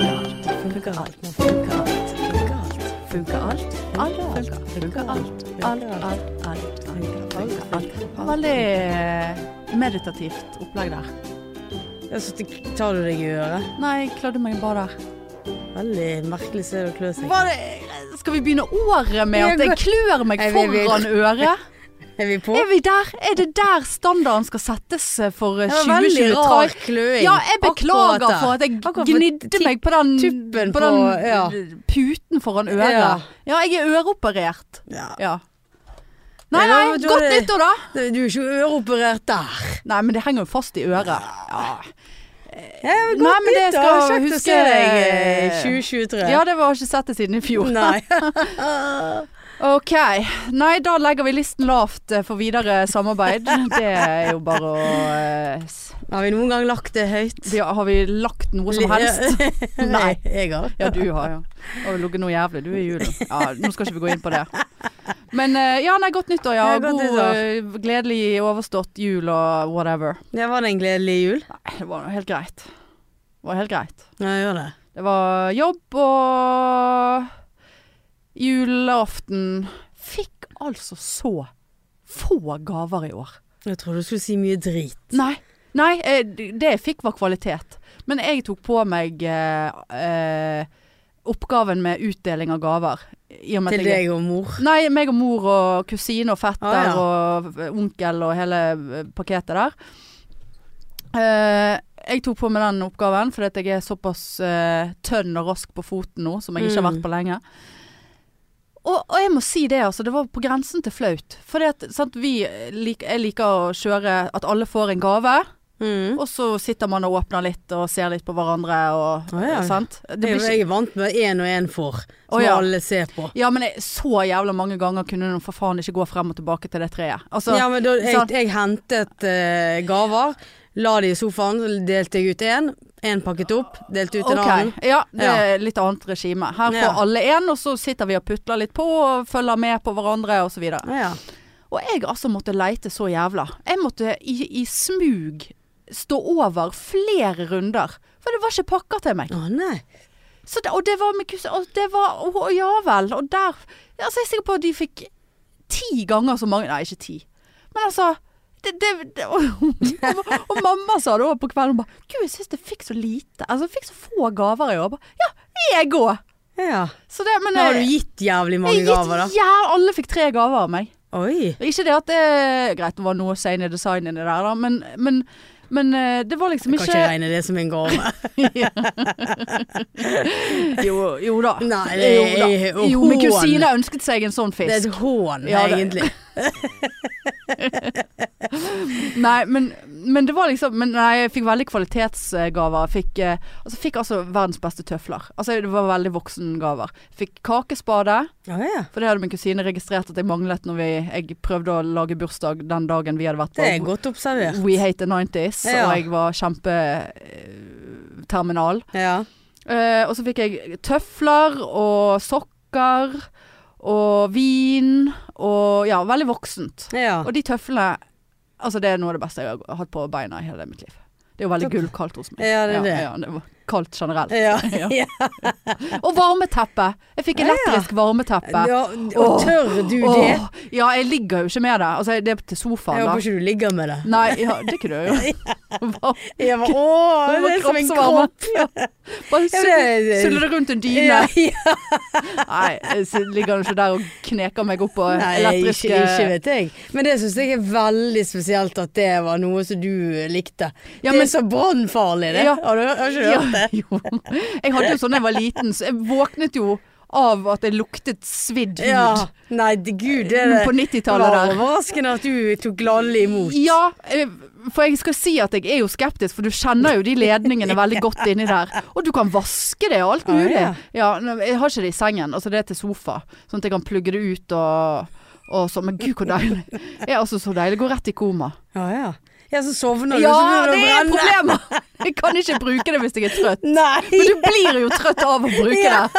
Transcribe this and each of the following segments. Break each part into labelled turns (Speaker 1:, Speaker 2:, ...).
Speaker 1: Fugalt, fugalt, fugalt, fugalt, alt, fugalt, alt, alt, alt, alt, alt. Veldig eh, meditativt opplegg der.
Speaker 2: Ja, så tar du deg i øret.
Speaker 1: Nei, jeg klødde meg bare der.
Speaker 2: Veldig merkelig sted å klø seg.
Speaker 1: Hva er det- eh, Skal vi begynne året med at jeg klør meg
Speaker 2: Jeg vil- vil-
Speaker 1: foran øret?
Speaker 2: Er vi på?
Speaker 1: Er vi der? Er det der standarden skal settes eh, for eh,
Speaker 2: Det var veldig
Speaker 1: 2023?
Speaker 2: rar kløing.
Speaker 1: Ja, jeg
Speaker 2: Akkurat
Speaker 1: beklager
Speaker 2: der.
Speaker 1: for at jeg
Speaker 2: Akkurat for
Speaker 1: gnidde
Speaker 2: ti-
Speaker 1: meg på den,
Speaker 2: tuppen
Speaker 1: på den
Speaker 2: på- ja.
Speaker 1: puten foran øret. Ja.
Speaker 2: Ja.
Speaker 1: jeg er øreoperert.
Speaker 2: Ja.
Speaker 1: Ja. Nei,
Speaker 2: Ja,
Speaker 1: nei,
Speaker 2: men da
Speaker 1: godt
Speaker 2: er det-
Speaker 1: nyttår da!
Speaker 2: Du er jo ikke øreoperert der.
Speaker 1: Nei, men det henger jo fast i øret. Ja.
Speaker 2: Ja, godt
Speaker 1: Nei, men det
Speaker 2: nytt, da.
Speaker 1: skal jeg
Speaker 2: Kjekt å
Speaker 1: huske-
Speaker 2: se deg eh, 2023.
Speaker 1: ja, det var ikke sett det siden i fjor.
Speaker 2: Nei.
Speaker 1: Ok, nei, da legger vi listen lavt eh, for videre samarbeid. Det er jo bare å eh, s-
Speaker 2: Har vi noen gang lagt det høyt?
Speaker 1: vi har- Har vi lagt noe som helst? Nei.
Speaker 2: Nei, jeg har.
Speaker 1: Ja, du har, ja. Å, det ligger noe jævlig. Du er i julen. Ja, nå skal ikke vi gå inn på det. Men eh, ja, nei, godt nyttår, ja.
Speaker 2: Ja, godt
Speaker 1: God,
Speaker 2: nyttår.
Speaker 1: eh, gledelig overstått jul og whatever.
Speaker 2: Ja, var det en gledelig jul?
Speaker 1: Nei, det var nå helt greit. Det var helt greit.
Speaker 2: Ja, jeg gjør det.
Speaker 1: Det var jobb og julaften. Fikk altså så få gaver i år.
Speaker 2: Jeg trodde du skulle si mye drit.
Speaker 1: Nei. Nei, eh, det jeg fikk var kvalitet. Men jeg tok på meg eh, eh, oppgaven med utdeling av gaver. I og med
Speaker 2: Til
Speaker 1: at jeg er
Speaker 2: deg og mor.
Speaker 1: Nei, meg og mor og kusine og fetter
Speaker 2: Ah, ja.
Speaker 1: og onkel og hele eh, paketet der. Eh, jeg tok på meg den oppgaven fordi at jeg er såpass eh, tønn og rask på foten nå, som jeg ikke har
Speaker 2: Mm.
Speaker 1: vært på lenge. Og, og jeg må si det, altså. Det var på grensen til flaut. Fordi at sant, vi eh, lik, Jeg liker å kjøre at alle får en gave,
Speaker 2: Mm.
Speaker 1: og så sitter man og åpner litt og ser litt på hverandre og
Speaker 2: Å, ja.
Speaker 1: Sant? Det
Speaker 2: Det
Speaker 1: blir
Speaker 2: er jo
Speaker 1: ikke,
Speaker 2: jeg er vant med én og én får, som
Speaker 1: Å, ja.
Speaker 2: alle ser på.
Speaker 1: ja, men jeg- så jævla mange ganger kunne nå for faen ikke gå frem og tilbake til det treet. Altså,
Speaker 2: ja, men da, jeg,
Speaker 1: sant.
Speaker 2: jeg hentet eh, gaver, la de i sofaen, så delte jeg ut én. Én pakket opp, delte ut en
Speaker 1: Ok,
Speaker 2: annen.
Speaker 1: Ja, det er litt annet regime. Her får
Speaker 2: Ja.
Speaker 1: alle én, og så sitter vi og putler litt på og følger med på hverandre osv.
Speaker 2: Ja, ja.
Speaker 1: Og jeg altså måtte leite så jævla. Jeg måtte i, i smug stå over flere runder. For det var ikke pakker til meg.
Speaker 2: Å nei.
Speaker 1: Så det, og det var med kus... Og det var Å å, ja vel. Og der Altså, jeg er sikker på at de fikk ti ganger så mange Nei, ikke ti. Men altså det, det, det, og, og mamma sa det òg på kvelden. Hun bare 'Gud, jeg syns jeg fikk så lite. Altså, jeg fikk så få gaver i år.' Jeg bare, Ja, jeg òg.
Speaker 2: Ja.
Speaker 1: Så det Men
Speaker 2: Nå har du
Speaker 1: jeg-
Speaker 2: gitt jævlig mange
Speaker 1: jeg gitt
Speaker 2: gaver, da.
Speaker 1: jæv- alle fikk tre gaver av meg.
Speaker 2: Oi.
Speaker 1: Ikke det at det Greit, det var noe sein i designen der, da, men, men, men eh, det var liksom
Speaker 2: Jeg kan ikke
Speaker 1: ikke
Speaker 2: regne det som en gave.
Speaker 1: jo, jo da.
Speaker 2: Nei, det
Speaker 1: jo,
Speaker 2: er
Speaker 1: da.
Speaker 2: jo
Speaker 1: jo, men
Speaker 2: hån.
Speaker 1: kusine ønsket seg en sånn
Speaker 2: Det er
Speaker 1: fisk.
Speaker 2: et hån,
Speaker 1: Ja, det-
Speaker 2: egentlig.
Speaker 1: Nei, men, men det var liksom men Nei, jeg fikk veldig kvalitetsgaver. Jeg Fikk, eh, altså, fikk altså verdens beste tøfler. Altså, det var veldig voksengaver. Fikk kakespade,
Speaker 2: Å ja.
Speaker 1: for det hadde min kusine registrert at jeg manglet når vi, jeg prøvde å lage bursdag den dagen vi hadde vært
Speaker 2: Det er
Speaker 1: på
Speaker 2: godt observert.
Speaker 1: We Hate the 90s,
Speaker 2: Ja.
Speaker 1: og jeg var kjempeterminal.
Speaker 2: Ja.
Speaker 1: Eh, og så fikk jeg tøfler og sokker og vin og ja, veldig voksent.
Speaker 2: ja.
Speaker 1: Og de tøflene Altså det er noe av det beste jeg har hatt på beina i hele mitt liv. Det er jo veldig gullkaldt hos meg.
Speaker 2: Ja, det er det.
Speaker 1: Ja, det var kaldt generelt.
Speaker 2: Ja.
Speaker 1: Ja.
Speaker 2: ja.
Speaker 1: Og varmeteppe! Jeg fikk elektrisk varmeteppe.
Speaker 2: ja. Og
Speaker 1: Åh.
Speaker 2: tør du det?
Speaker 1: Åh, ja, jeg ligger jo ikke med det. Altså, det er til
Speaker 2: Jeg
Speaker 1: sofaen,
Speaker 2: håper
Speaker 1: da.
Speaker 2: ikke du ligger med det.
Speaker 1: Nei, ja, det kunne jeg jo. Bare,
Speaker 2: Jeg bare, Åh,
Speaker 1: Det var
Speaker 2: det er som en
Speaker 1: kroppsvarme.
Speaker 2: kropp. Ja,
Speaker 1: bare
Speaker 2: men
Speaker 1: sulle
Speaker 2: det-
Speaker 1: sulle det rundt en
Speaker 2: Ja,
Speaker 1: dyne.
Speaker 2: ja.
Speaker 1: Nei, jeg s- ligger jo ikke der og kneker meg opp på
Speaker 2: Nei, ikke,
Speaker 1: elektriske
Speaker 2: ikke vet jeg. Men det syns jeg er veldig spesielt at det var noe som du eh, likte.
Speaker 1: Ja,
Speaker 2: det
Speaker 1: men-
Speaker 2: er så brannfarlig, det.
Speaker 1: Ja.
Speaker 2: Har du har ikke du hørt det?
Speaker 1: Ja, jo. Jeg hadde jo sånn da jeg var liten, så jeg våknet jo av at jeg luktet svidd hud.
Speaker 2: Ja. Nei, d- gud, det er det.
Speaker 1: Mm, På 90-tallet
Speaker 2: Det var
Speaker 1: der.
Speaker 2: Overraskende at du tok gladelig imot.
Speaker 1: Ja, eh, for jeg skal si at jeg er jo skeptisk, for du kjenner jo de ledningene veldig godt inni der. Og du kan vaske det og alt
Speaker 2: Ah,
Speaker 1: mulig.
Speaker 2: ja.
Speaker 1: Ja, nei, jeg har ikke det i sengen, altså det er til sofa, sånn at jeg kan plugge det ut og, og sånn. Men gud, hvor deilig. Det er altså så deilig. Går rett i koma.
Speaker 2: Ja, ja. Ja, så sovner du,
Speaker 1: Ja,
Speaker 2: så begynner du å
Speaker 1: det er
Speaker 2: brenne.
Speaker 1: problemer! Jeg kan ikke bruke det hvis jeg er trøtt. Men
Speaker 2: Nei!
Speaker 1: du blir jo trøtt av å bruke
Speaker 2: Ja.
Speaker 1: det.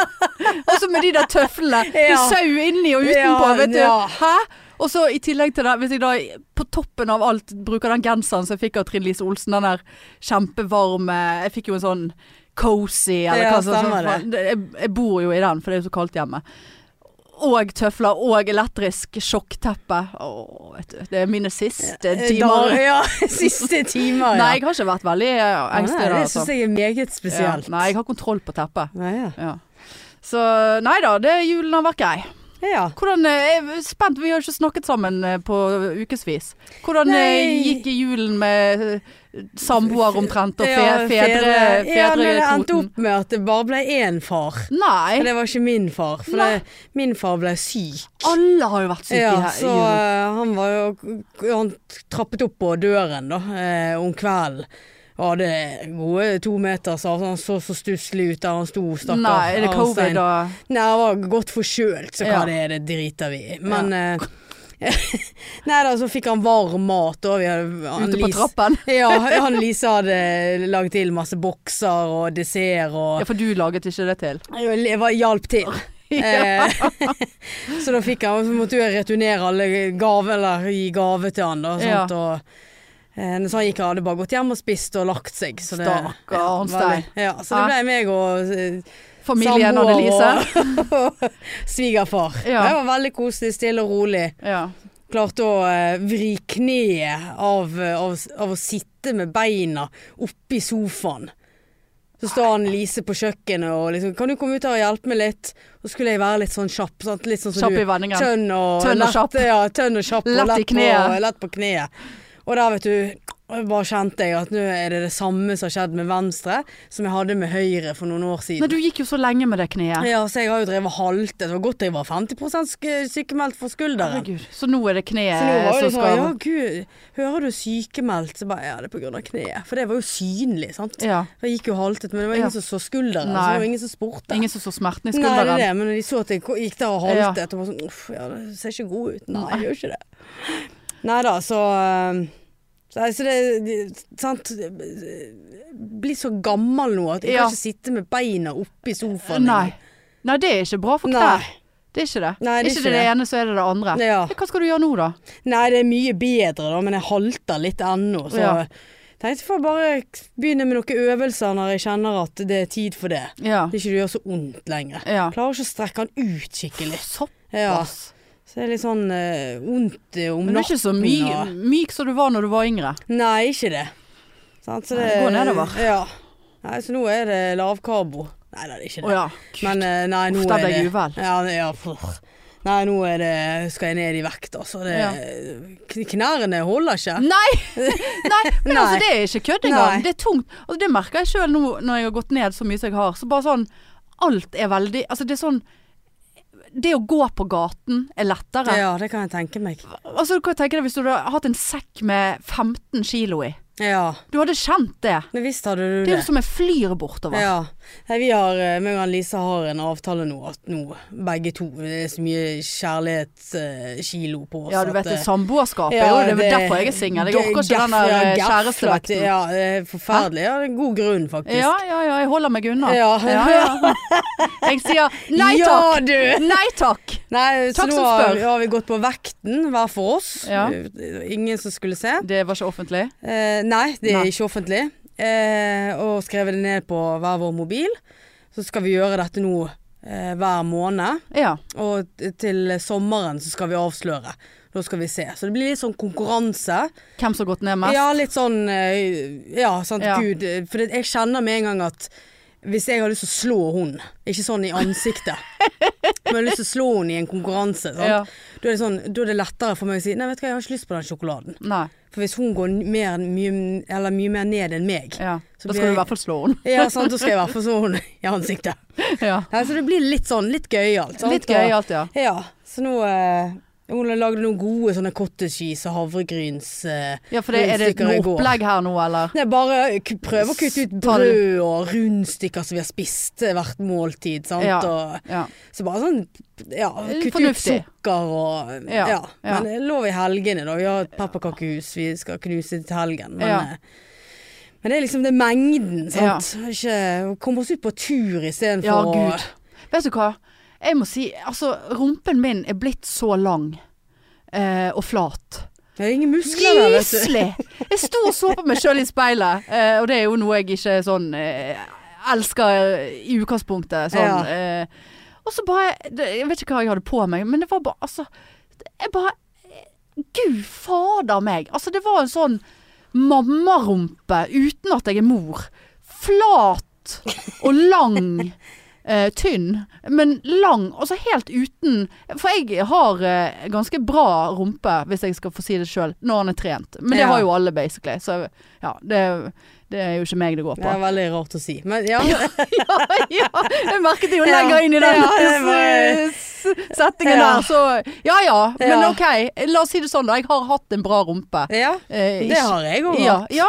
Speaker 1: Og så med de der tøflene. Det
Speaker 2: Ja.
Speaker 1: er sau inni og utenpå,
Speaker 2: Ja,
Speaker 1: vet du.
Speaker 2: ja.
Speaker 1: Hæ? Og så i tillegg til det, hvis jeg da på toppen av alt bruker den genseren som jeg fikk av Trine Lise Olsen, den der kjempevarme Jeg fikk jo en sånn cozy, eller
Speaker 2: Ja,
Speaker 1: hva som
Speaker 2: stemmer
Speaker 1: sånn,
Speaker 2: det.
Speaker 1: faen. Jeg, jeg bor jo i den, for det er jo så kaldt hjemme. Og tøfler og elektrisk sjokkteppe. Å, vet du. Det er mine siste timer.
Speaker 2: Da- Ja, siste timer.
Speaker 1: Nei,
Speaker 2: Ja.
Speaker 1: jeg har ikke vært veldig eh, engstelig.
Speaker 2: Nei,
Speaker 1: da,
Speaker 2: det syns jeg er meget spesielt.
Speaker 1: altså. Ja, nei, jeg har kontroll på teppet.
Speaker 2: Nei, ja.
Speaker 1: Ja. Så nei da, det julen har vært grei.
Speaker 2: ja.
Speaker 1: Hvordan, eh, jeg er spent, vi har jo ikke snakket sammen eh, på ukevis. Hvordan eh,
Speaker 2: Nei.
Speaker 1: gikk julen med eh, samboer omtrent og fe,
Speaker 2: Ja,
Speaker 1: fedre,
Speaker 2: Ja, nei, det endte
Speaker 1: fedrekvoten?
Speaker 2: opp med at det bare ble én far. Og
Speaker 1: Nei,
Speaker 2: det var ikke min far, for
Speaker 1: Eh? Nei.
Speaker 2: det, min far ble syk.
Speaker 1: alle har jo vært syke
Speaker 2: Ja,
Speaker 1: i he-
Speaker 2: så
Speaker 1: julen.
Speaker 2: eh, han var jo Han trappet opp på døren da, eh, om kvelden. Og hadde gode to meters avstand. Han så så stusslig ut der han sto, stakkar.
Speaker 1: Nei, er det
Speaker 2: Arnstein.
Speaker 1: covid og
Speaker 2: Nei, han var godt forkjølt, så hva
Speaker 1: Ja.
Speaker 2: det er, det driter vi i. Men eh, Nei da, så fikk han varm mat, og vi hadde
Speaker 1: ute på
Speaker 2: Lise-
Speaker 1: trappen?
Speaker 2: Ja, han Lise hadde lagd til masse bokser og dessert
Speaker 1: Ja,
Speaker 2: og
Speaker 1: for du laget ikke det til.
Speaker 2: Jeg var- hjalp til. Eh, så da fikk han, så måtte jeg returnere alle gaver, eller gi gave til han. Da, og sånt,
Speaker 1: Ja.
Speaker 2: og, eh, så han gikk og hadde bare gått hjem og spist og lagt seg. Så det,
Speaker 1: Stakkar
Speaker 2: ja,
Speaker 1: Arnstein.
Speaker 2: veldig. Ja, så det ble meg og eh,
Speaker 1: Familien
Speaker 2: Samboer
Speaker 1: Annelise.
Speaker 2: og svigerfar.
Speaker 1: Ja.
Speaker 2: Det var veldig koselig, stille og rolig.
Speaker 1: Ja.
Speaker 2: Klarte å eh, vri kneet av, eh, av, av å sitte med beina oppi sofaen. Så står han Lise på kjøkkenet og liksom 'Kan du komme ut her og hjelpe meg litt?' Og så skulle jeg være litt sånn kjapp. Sant? Litt sånn som
Speaker 1: Kjapp
Speaker 2: du.
Speaker 1: i vendingen.
Speaker 2: Tønn og,
Speaker 1: Tønn og
Speaker 2: lett-
Speaker 1: kjapp.
Speaker 2: Ja, tønn og kjapp
Speaker 1: Lett i
Speaker 2: og lett
Speaker 1: kneet.
Speaker 2: På, lett på kneet. Og der, vet du, bare kjente jeg at nå er det det samme som har skjedd med venstre, som jeg hadde med høyre for noen år siden.
Speaker 1: Nei, du gikk jo så lenge med det kneet.
Speaker 2: Ja, så jeg har jo drevet og haltet. Det var godt jeg var 50 sk- sykemeldt for skulderen.
Speaker 1: Herregud. Så nå er det
Speaker 2: Så nå
Speaker 1: kneet
Speaker 2: var jo
Speaker 1: som
Speaker 2: det sånn,
Speaker 1: Eh, skal
Speaker 2: ja gud, hører du sykemeldt? Så bare, ja det er på grunn av kneet. For det var jo synlig, sant.
Speaker 1: Ja.
Speaker 2: Jeg gikk jo haltet, men det var
Speaker 1: Ja.
Speaker 2: ingen som så skulderen. Så
Speaker 1: Nei.
Speaker 2: det var ingen som spurte.
Speaker 1: Ingen som så smerten i
Speaker 2: Nei, det
Speaker 1: skulderen.
Speaker 2: er det, men når de så at jeg ko- gikk der og haltet, og var sånn uff, ja det ser ikke god ut. Nei, jeg gjør ikke det. Nei da, så eh, Nei, så det de- Sant. Bli så gammel nå at jeg
Speaker 1: Ja.
Speaker 2: kan ikke sitte med beina oppi sofaen.
Speaker 1: Nei. Nei, det er ikke bra for knær.
Speaker 2: Nei.
Speaker 1: Det er ikke det.
Speaker 2: Nei, det er
Speaker 1: ikke
Speaker 2: ikke
Speaker 1: det,
Speaker 2: det.
Speaker 1: ene, så er det det andre.
Speaker 2: Ja.
Speaker 1: Hva skal du gjøre nå, da?
Speaker 2: Nei, det er mye bedre da, men jeg halter litt ennå. Så
Speaker 1: Ja.
Speaker 2: tenkte jeg får bare begynne med noen øvelser når jeg kjenner at det er tid for det.
Speaker 1: Ja.
Speaker 2: Det ikke det gjør så vondt lenger.
Speaker 1: ja.
Speaker 2: Klarer ikke å strekke den ut skikkelig. Ja,
Speaker 1: Såpass.
Speaker 2: så det er litt sånn eh, vondt eh, om
Speaker 1: Men du er
Speaker 2: natten.
Speaker 1: ikke så my
Speaker 2: og-
Speaker 1: myk som du var når du var yngre.
Speaker 2: Nei, ikke det. Sant, så
Speaker 1: Nei, det går nedover.
Speaker 2: Ja. Nei, så nå er det lavkarbo. Nei, da, det er ikke
Speaker 1: Å
Speaker 2: det.
Speaker 1: ja.
Speaker 2: Men eh, nei, nå
Speaker 1: Uff, da
Speaker 2: er
Speaker 1: ble
Speaker 2: det
Speaker 1: jeg uvel.
Speaker 2: Ja, det- ja, pff. Nei, nå er det, skal jeg ned i vekt, altså. Det, kn- Knærne holder ikke.
Speaker 1: Nei! Nei, men
Speaker 2: Nei.
Speaker 1: altså det er ikke kødd
Speaker 2: Nei.
Speaker 1: engang. Det er tungt. Altså, det merker jeg sjøl nå når jeg har gått ned så mye som jeg har. Så bare sånn Alt er veldig Altså det er sånn Det å gå på gaten er lettere.
Speaker 2: Ja, det kan jeg tenke meg.
Speaker 1: Altså du kan tenke deg hvis du hadde hatt en sekk med 15 kilo i.
Speaker 2: Ja,
Speaker 1: Du hadde kjent det.
Speaker 2: men visst hadde du
Speaker 1: Det er
Speaker 2: det.
Speaker 1: jo som jeg flyr bortover.
Speaker 2: Ja. Nei, vi har, eh, meg og Lisa har en avtale nå, at nå begge to Det er så mye kjærlighetskilo på oss.
Speaker 1: Ja, du
Speaker 2: at,
Speaker 1: vet det
Speaker 2: eh,
Speaker 1: samboerskapet.
Speaker 2: Ja,
Speaker 1: jo, det er vel
Speaker 2: det-
Speaker 1: derfor jeg er singel. Jeg orker ikke den
Speaker 2: Derfor-
Speaker 1: der eh,
Speaker 2: ja, derfor-
Speaker 1: kjærestevekten.
Speaker 2: Ja, det er forferdelig. Ja, det er god grunn, faktisk.
Speaker 1: Ja, ja, ja. Jeg holder meg unna.
Speaker 2: Ja.
Speaker 1: ja. Jeg sier nei
Speaker 2: Ja,
Speaker 1: takk.
Speaker 2: du!
Speaker 1: Nei takk.
Speaker 2: Nei, så
Speaker 1: Takk
Speaker 2: nå
Speaker 1: som
Speaker 2: har,
Speaker 1: spør.
Speaker 2: har vi gått på vekten hver for oss.
Speaker 1: Ja.
Speaker 2: Ingen som skulle se.
Speaker 1: Det var ikke offentlig.
Speaker 2: Eh, nei, det er
Speaker 1: Nei.
Speaker 2: ikke offentlig. Eh, og skrevet det ned på hver vår mobil. Så skal vi gjøre dette nå eh, hver måned.
Speaker 1: Ja.
Speaker 2: Og t- til sommeren så skal vi avsløre. Da skal vi se. Så det blir litt sånn konkurranse.
Speaker 1: Hvem som har gått ned mest?
Speaker 2: Ja, litt sånn eh, Ja, sant.
Speaker 1: Ja.
Speaker 2: Gud. eh, For det- jeg kjenner med en gang at hvis jeg har lyst til å slå hun, ikke sånn i ansiktet, men jeg har lyst til å slå hun i en konkurranse, sant?
Speaker 1: Ja.
Speaker 2: Da, er det sånn, da er det lettere for meg å si nei, vet du hva, jeg har ikke lyst på den sjokoladen.
Speaker 1: Nei.
Speaker 2: For hvis hun går n- mer, mye, eller mye mer ned enn meg,
Speaker 1: Ja.
Speaker 2: Så
Speaker 1: Da
Speaker 2: blir
Speaker 1: skal du i
Speaker 2: jeg-
Speaker 1: hvert fall slå henne.
Speaker 2: ja, sant, da skal jeg i hvert fall slå hun i ansiktet.
Speaker 1: Ja.
Speaker 2: Nei, så det blir litt sånn, litt gøyalt. sant?
Speaker 1: Litt
Speaker 2: Og-
Speaker 1: gøyalt, ja.
Speaker 2: Ja, så nå eh, Hun lagde noen gode sånne cottage cheese og havregryns eh,
Speaker 1: Ja, for det, er det
Speaker 2: rundstykker i
Speaker 1: noe
Speaker 2: går.
Speaker 1: opplegg her nå, eller?
Speaker 2: Nei, bare k- prøve å kutte ut
Speaker 1: Ta det-
Speaker 2: brød og rundstykker som vi har spist eh, hvert måltid, sant.
Speaker 1: Ja.
Speaker 2: Og,
Speaker 1: Ja.
Speaker 2: så bare sånn ja, kutte
Speaker 1: Fornuftig.
Speaker 2: ut sukker og
Speaker 1: Ja,
Speaker 2: ja,
Speaker 1: ja.
Speaker 2: Men det er lov i helgene, da. Vi har et pepperkakehus vi skal knuse til helgen. Men,
Speaker 1: Ja.
Speaker 2: eh, men det er liksom det er mengden, sant. Ikke komme oss ut på tur istedenfor
Speaker 1: Ja,
Speaker 2: å-
Speaker 1: gud. Vet du hva? Jeg må si, altså, rumpen min er blitt så lang eh, og flat.
Speaker 2: Det er ingen muskler der, vet du.
Speaker 1: Gyselig! Jeg sto og så på meg sjøl i speilet, eh, og det er jo noe jeg ikke sånn eh, elsker i utgangspunktet. Sånn.
Speaker 2: Ja.
Speaker 1: Eh, og så bare det, Jeg vet ikke hva jeg hadde på meg, men det var bare altså Jeg bare Gud fader meg! Altså, det var en sånn mammarumpe uten at jeg er mor. Flat og lang. Eh, tynn, men lang. Altså helt uten For jeg har eh, ganske bra rumpe, hvis jeg skal få si det sjøl, når han er trent. Men det
Speaker 2: Ja.
Speaker 1: har jo alle, basically. Så ja, det, det er jo ikke meg det går
Speaker 2: Det
Speaker 1: på.
Speaker 2: er veldig rart å si. Men ja,
Speaker 1: ja, jeg merket det jo
Speaker 2: Ja.
Speaker 1: lenger inn i den
Speaker 2: Ja, det var-
Speaker 1: s- setningen
Speaker 2: Ja.
Speaker 1: der, så ja ja. Men
Speaker 2: Ja.
Speaker 1: ok, la oss si det sånn, da. Jeg har hatt en bra rumpe.
Speaker 2: ja
Speaker 1: Eh,
Speaker 2: det har jeg òg.
Speaker 1: ja, ja.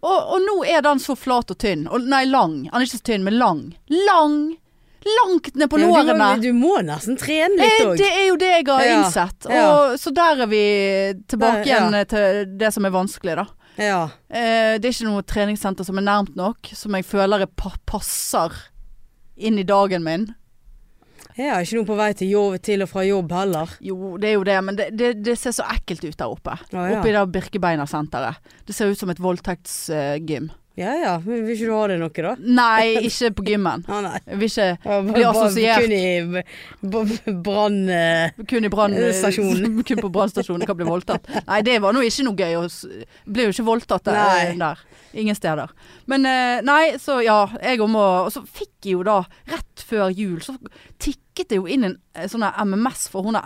Speaker 1: Og, og nå er den så flat og tynn. Og, nei, lang. Han er ikke så tynn, men lang. Lang! Langt ned på
Speaker 2: Ja, men du
Speaker 1: lårene.
Speaker 2: må- Du må nesten trene litt
Speaker 1: Eh,
Speaker 2: òg.
Speaker 1: Det er jo det jeg har
Speaker 2: Ja,
Speaker 1: innsett. Og,
Speaker 2: ja.
Speaker 1: Så der er vi tilbake
Speaker 2: Der, ja.
Speaker 1: igjen eh, til det som er vanskelig, da.
Speaker 2: Ja.
Speaker 1: Eh, det er ikke noe treningssenter som er nærmt nok, som jeg føler er pa passer inn i dagen min.
Speaker 2: Jeg har ikke noe på vei til, jobb, til og fra jobb heller.
Speaker 1: Jo, det er jo det, men det, det, det ser så ekkelt ut der oppe.
Speaker 2: ja.
Speaker 1: Oppe i det Birkebeinersenteret. Det ser ut som et voldtektsgym.
Speaker 2: Ja ja, men vil ikke du ha det noe da?
Speaker 1: Nei, ikke på gymmen.
Speaker 2: Ah, nei.
Speaker 1: Jeg vil ikke
Speaker 2: Blir
Speaker 1: assosiert.
Speaker 2: Kun i b- brann... eh,
Speaker 1: Kun i brann...
Speaker 2: Eh, stasjonen.
Speaker 1: Kun på brannstasjonen kan bli voldtatt. Nei, det var nå ikke noe gøy. å s- Ble jo ikke voldtatt der. eh,
Speaker 2: Nei.
Speaker 1: der. Ingen steder. Men eh, nei, så ja. Jeg og må Og så fikk jeg jo da, rett før jul, så tikket det jo inn en eh, sånn her MMS for hun er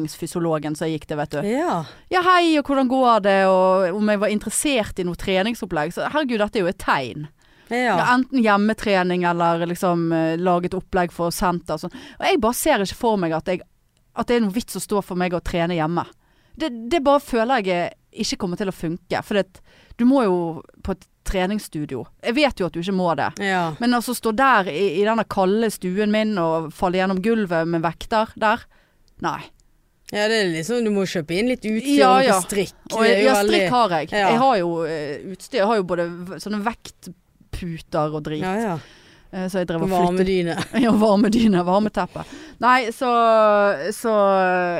Speaker 1: ernæringsfysiologen som jeg gikk til, vet du.
Speaker 2: Ja.
Speaker 1: Ja, hei, og hvordan går det, og om jeg var interessert i noe treningsopplegg. Så herregud, dette er jo et tegn.
Speaker 2: ja.
Speaker 1: Ja, enten hjemmetrening eller liksom eh, lage et opplegg for senter og sånn. Og jeg bare ser ikke for meg at, jeg, at det er noen vits å stå for meg å trene hjemme. Det, det bare føler jeg eh, ikke kommer til å funke. For det, du må jo på et treningsstudio. Jeg vet jo at du ikke må det.
Speaker 2: Ja.
Speaker 1: Men altså stå der i, i denne kalde stuen min og falle gjennom gulvet med vekter der. Nei.
Speaker 2: ja, det er liksom Du må kjøpe inn litt utstyr
Speaker 1: Ja,
Speaker 2: og noe
Speaker 1: ja.
Speaker 2: strikk.
Speaker 1: Og
Speaker 2: Det er jo
Speaker 1: ja, strikk
Speaker 2: veldig-
Speaker 1: har jeg.
Speaker 2: Ja.
Speaker 1: Jeg har jo eh, utstyr. Jeg har jo både v- sånne vektputer og drit.
Speaker 2: Ja, ja.
Speaker 1: eh, Så jeg drev og flyttet
Speaker 2: Varmedyne.
Speaker 1: Ja, varmedyne, varmeteppe. Nei, så, så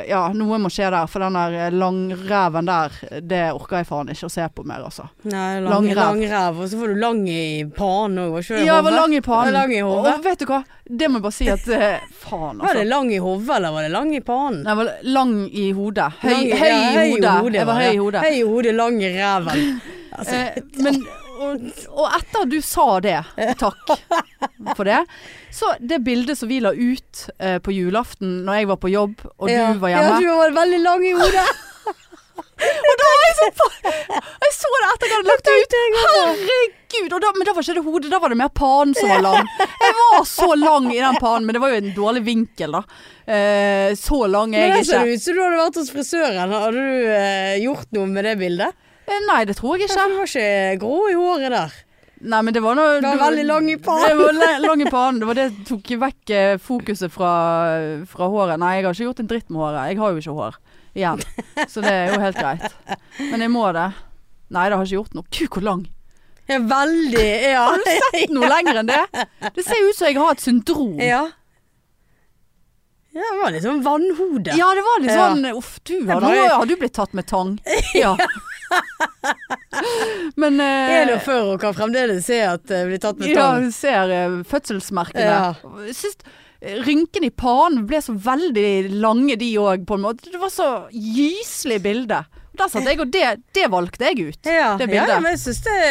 Speaker 1: Ja, noe må skje der. For den der langreven der, det orker jeg faen ikke å se på mer, altså.
Speaker 2: Nei,
Speaker 1: Lang
Speaker 2: lang,
Speaker 1: ræv.
Speaker 2: lang ræv. Og så får du lang i panen òg, var ikke det?
Speaker 1: Ja, jeg var
Speaker 2: hodet?
Speaker 1: lang i panen.
Speaker 2: Var
Speaker 1: altså.
Speaker 2: Lang i
Speaker 1: og,
Speaker 2: hodet.
Speaker 1: og vet du hva, det må jeg bare si at eh, Faen,
Speaker 2: Var det
Speaker 1: altså.
Speaker 2: lang i hodet, eller var det lang i panen?
Speaker 1: Nei, jeg var lang i hodet. Høy,
Speaker 2: Lang-
Speaker 1: høy,
Speaker 2: ja,
Speaker 1: i hodet. Jeg var høy i
Speaker 2: ja.
Speaker 1: hodet.
Speaker 2: Høy i hodet, lang i ræven. Altså,
Speaker 1: Eh, men, og, og etter du sa det, takk for det, så det bildet som vi la ut eh, på julaften når jeg var på jobb og
Speaker 2: ja.
Speaker 1: du var hjemme
Speaker 2: Ja, du var veldig lang i hodet.
Speaker 1: Jeg så det etter jeg hadde lagt det ut. Herregud! Og da, men da var ikke det hodet, da var det mer panen som var lang. Jeg var så lang i den panen, men det var jo en dårlig vinkel, da. Eh, så lang er
Speaker 2: Men det ser
Speaker 1: jeg ikke.
Speaker 2: ut som du hadde vært hos frisøren. Hadde du eh, gjort noe med det bildet?
Speaker 1: Eh, Nei, det tror jeg
Speaker 2: Du
Speaker 1: ikke.
Speaker 2: var ikke grå i håret der.
Speaker 1: Nei, men det var noe
Speaker 2: Du var veldig lang i panen.
Speaker 1: Det var le- lang i panen. Det var det som tok vekk eh, fokuset fra, fra håret. Nei, jeg har ikke gjort en dritt med håret. Jeg har jo ikke hår igjen. Så det er jo helt greit. Men jeg må det. Nei, det har jeg ikke gjort noe. Gud, hvor lang.
Speaker 2: Ja, veldig. Ja.
Speaker 1: Noe lenger enn det. Det ser ut som jeg har et syndrom.
Speaker 2: ja. Ja, det var litt sånn vannhode.
Speaker 1: Ja, det var litt
Speaker 2: Ja.
Speaker 1: sånn Uff, du har,
Speaker 2: var-
Speaker 1: nå har du blitt tatt med tang. Ja. Men eh,
Speaker 2: 41 og kan fremdeles se at det blir tatt med
Speaker 1: Ja,
Speaker 2: tang.
Speaker 1: hun ser eh, fødselsmerkene.
Speaker 2: Ja.
Speaker 1: Jeg Syns eh, rynkene i panen ble så veldig lange, de òg, på en måte. Det var så gyselig bilde. Og Der satt jeg, og det, det valgte jeg ut.
Speaker 2: Ja,
Speaker 1: det
Speaker 2: ja,
Speaker 1: bildet.
Speaker 2: men jeg syns det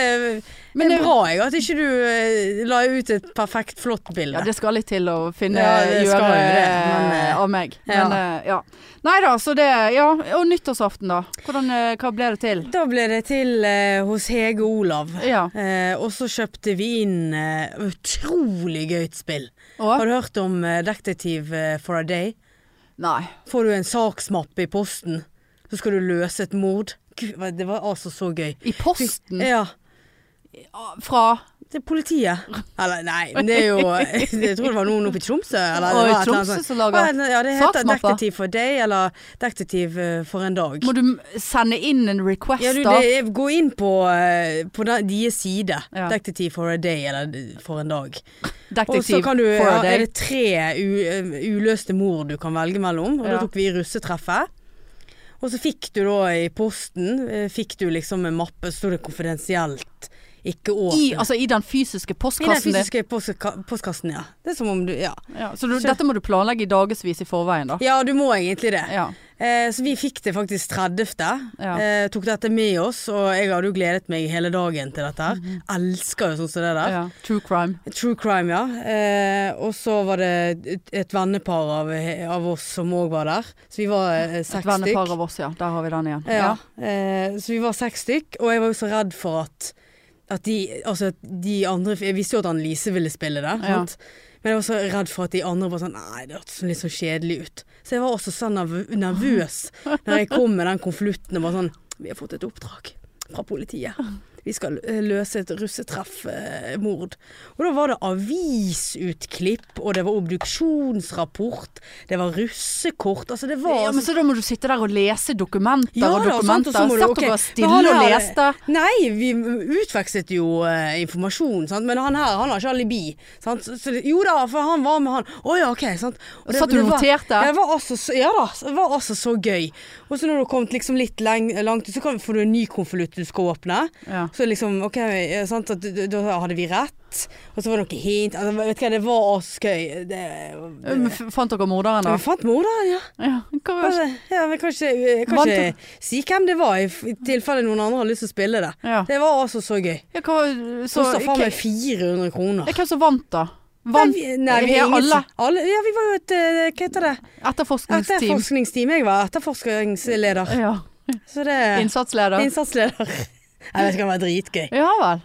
Speaker 2: Men det er bra jeg at ikke du eh, la ut et perfekt flott bilde.
Speaker 1: Ja, det skal litt til å finne
Speaker 2: Ja, det skal
Speaker 1: gjøre
Speaker 2: jo det, men,
Speaker 1: eh,
Speaker 2: eh,
Speaker 1: av meg.
Speaker 2: ja.
Speaker 1: Men, eh, ja. Nei da, så det Ja, og nyttårsaften, da. Hvordan, eh, hva ble det til?
Speaker 2: Da ble det til eh, hos Hege Olav.
Speaker 1: Ja.
Speaker 2: Eh, og så kjøpte vi inn eh, utrolig gøyt spill.
Speaker 1: Og?
Speaker 2: Har du hørt om eh, Detective eh, for a Day?
Speaker 1: Nei.
Speaker 2: Får du en saksmappe i posten, så skal du løse et mord. Gud, hva- det var altså så gøy.
Speaker 1: I posten?
Speaker 2: Ja. ah,
Speaker 1: Fra
Speaker 2: Det er politiet. Eller nei, men det er jo Jeg tror det var noen oppe i Tromsø. Eller,
Speaker 1: Og
Speaker 2: det var et
Speaker 1: i
Speaker 2: eller annet
Speaker 1: Tromsø
Speaker 2: sånt.
Speaker 1: som lager
Speaker 2: Ja, det heter
Speaker 1: saksmapper.
Speaker 2: Detective for a Day, eller Detective eh, for en dag.
Speaker 1: Må du m- sende inn en request,
Speaker 2: Ja, du,
Speaker 1: da?
Speaker 2: det, er- gå inn på, eh, på den- deres side.
Speaker 1: Ja.
Speaker 2: Detective for a day, eller eh, for en dag. Og så
Speaker 1: Detektiv
Speaker 2: kan du,
Speaker 1: for a
Speaker 2: ja, er
Speaker 1: day.
Speaker 2: det tre u, eh, uløste mord du kan velge mellom. Og da
Speaker 1: Ja.
Speaker 2: tok vi russetreffet. Og så fikk du da i posten eh, Fikk du liksom en mappe, så sto det konfidensielt. Ikke
Speaker 1: I,
Speaker 2: åpne.
Speaker 1: altså, I den fysiske
Speaker 2: I den
Speaker 1: postkassen din?
Speaker 2: fysiske postka- postkassen, ja. Det er som om du Ja,
Speaker 1: Ja, så du, dette må du planlegge i dagevis i forveien, da?
Speaker 2: ja du må egentlig det.
Speaker 1: Ja.
Speaker 2: Eh, så vi fikk det faktisk 30.
Speaker 1: Ja.
Speaker 2: Eh, tok dette med oss, og jeg hadde jo gledet meg hele dagen til dette her.
Speaker 1: Mhm.
Speaker 2: Elsker jo sånn som det der.
Speaker 1: ja. True crime.
Speaker 2: True crime, ja. Eh, og så var det et- et vennepar av, av oss som òg var der. Så vi var eh,
Speaker 1: Et
Speaker 2: seks
Speaker 1: vennepar
Speaker 2: stykk.
Speaker 1: av oss, ja. Der har vi den igjen.
Speaker 2: Ja. Eh, så vi var seks stykk, og jeg var jo så redd for at at de, altså at de andre Jeg visste jo at Annelise ville spille det,
Speaker 1: Ja.
Speaker 2: sant? men jeg var så redd for at de andre var sånn Nei, det hørtes litt så kjedelig ut. Så jeg var også så nerv nervøs når jeg kom med den konvolutten og var sånn Vi har fått et oppdrag fra politiet. Vi skal eh, løse et russetreffmord. Og da var det avisutklipp, og det var obduksjonsrapport, det var russekort Altså, det var
Speaker 1: Ja, men så da må du sitte der og lese dokumenter og
Speaker 2: da, sant,
Speaker 1: dokumenter.
Speaker 2: og så må du-
Speaker 1: Satt
Speaker 2: ok,
Speaker 1: dere
Speaker 2: men
Speaker 1: stille
Speaker 2: han
Speaker 1: og
Speaker 2: her-
Speaker 1: leste?
Speaker 2: Nei, vi utvekslet jo eh, informasjon, sant? men han her han har ikke alibi. Sant? Så, så, jo da, for han var med han. Å ja, OK. Sant? Og
Speaker 1: Satt du og
Speaker 2: var-
Speaker 1: noterte?
Speaker 2: Ja, det var altså, så- ja da, det var altså så gøy. Og så når du har kommet liksom litt leng, langt ut, så kan, får du en ny konvolutt du skal åpne.
Speaker 1: Ja.
Speaker 2: Så liksom, ok, eh, sant, at, da- da hadde vi rett. Og så var det noe hint. Altså, vet du hva, det var også gøy. Det,
Speaker 1: Men f- Fant dere morderen,
Speaker 2: vi
Speaker 1: da?
Speaker 2: fant morderen, ja.
Speaker 1: Ja. hva-
Speaker 2: Kanskje, ja, men kanskje, eh,
Speaker 1: Vant
Speaker 2: kanskje
Speaker 1: du?
Speaker 2: si hvem det var, i f- i tilfelle noen andre har lyst til å spille det.
Speaker 1: Ja.
Speaker 2: Det var altså så gøy.
Speaker 1: Ja, hva- så,
Speaker 2: Kosta faen meg
Speaker 1: hva-
Speaker 2: 400 kroner.
Speaker 1: ja, hvem som vant, da? Vant
Speaker 2: Nei, vi- nei, vi
Speaker 1: Ja,
Speaker 2: er ingen,
Speaker 1: alle
Speaker 2: alle? Ja, vi var jo et eh, Hva heter det?
Speaker 1: etterforskningsteam?
Speaker 2: Etterforskningsteam. Jeg var etterforskningsleder.
Speaker 1: Ja.
Speaker 2: Så det
Speaker 1: Innsatsleder?
Speaker 2: Innsatsleder. Jeg vet ikke, det var dritgøy.
Speaker 1: Ja vel.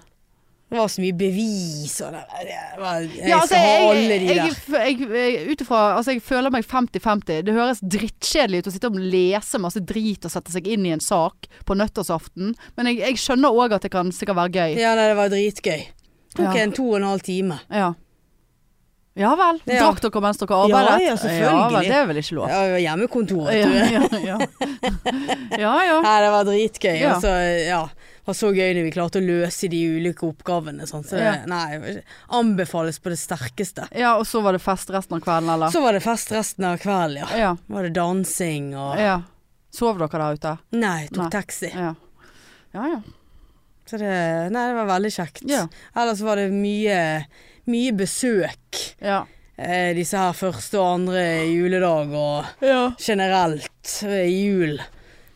Speaker 2: Det var så mye bevis og det var- det var Jeg
Speaker 1: Ja, altså,
Speaker 2: skal ha
Speaker 1: jeg,
Speaker 2: alle
Speaker 1: jeg,
Speaker 2: de der.
Speaker 1: jeg, jeg, ut ifra Altså, jeg føler meg 50-50. Det høres drittkjedelig ut å sitte og lese masse drit og sette seg inn i en sak på nyttårsaften, men jeg, jeg skjønner òg at det kan sikkert være gøy.
Speaker 2: Ja, nei, det var dritgøy. Tok
Speaker 1: Ja.
Speaker 2: en to og en halv time.
Speaker 1: Ja. Ja vel.
Speaker 2: Ja.
Speaker 1: Drakk dere mens dere arbeidet?
Speaker 2: Ja, ja, selvfølgelig.
Speaker 1: vel, det er vel ikke lov?
Speaker 2: Ja, det var hjemmekontor. vet du.
Speaker 1: Ja, ja, ja. ja, ja.
Speaker 2: Nei, det var dritgøy.
Speaker 1: Ja.
Speaker 2: Altså, ja. Det var så gøy når vi klarte å løse de ulike oppgavene. Sånn. Så det,
Speaker 1: Ja.
Speaker 2: nei, det var ikke- anbefales på det sterkeste.
Speaker 1: Ja, og så var det fest resten av kvelden, eller?
Speaker 2: Så var det fest resten av kvelden, ja.
Speaker 1: Ja,
Speaker 2: Var det dansing og
Speaker 1: ja. Sov dere der ute?
Speaker 2: Nei, tok
Speaker 1: Nei.
Speaker 2: taxi.
Speaker 1: Ja. Ja, ja.
Speaker 2: Så det, nei, det var veldig kjekt.
Speaker 1: Ja.
Speaker 2: Ellers var det mye, mye besøk.
Speaker 1: Ja.
Speaker 2: Eh, disse her første og andre juledag og
Speaker 1: ja.
Speaker 2: generelt eh, jul.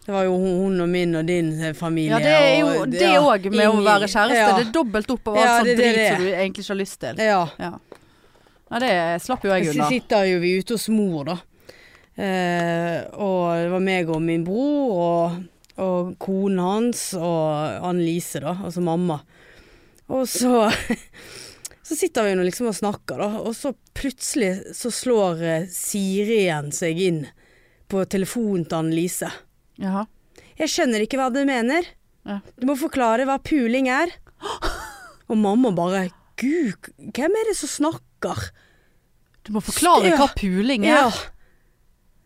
Speaker 2: Det var jo hun, hun og min og din eh, familie.
Speaker 1: det er jo
Speaker 2: og-
Speaker 1: det
Speaker 2: ja,
Speaker 1: òg med å
Speaker 2: inn i-
Speaker 1: være kjæreste.
Speaker 2: Ja.
Speaker 1: Det er dobbelt opp av
Speaker 2: Ja,
Speaker 1: alt sånn
Speaker 2: det- det er
Speaker 1: drit
Speaker 2: det.
Speaker 1: som du egentlig ikke har lyst til.
Speaker 2: ja.
Speaker 1: Ja. Nei, det slapp jo jeg
Speaker 2: Så
Speaker 1: unna.
Speaker 2: sitter jo vi ute hos mor, da. Eh, og det var meg og min bror og, og konen hans og Anne-Lise, da, altså mamma. Og så Så sitter vi nå liksom og snakker, da, og så plutselig så slår eh, Sirien seg inn på telefonen til Anne-Lise.
Speaker 1: Jaha.
Speaker 2: Jeg skjønner ikke hva du mener.
Speaker 1: Ja.
Speaker 2: Du må forklare hva puling er. Og mamma bare Gud, hvem er det som snakker?
Speaker 1: Du må forklare
Speaker 2: Ja.
Speaker 1: hva puling er.
Speaker 2: Ja.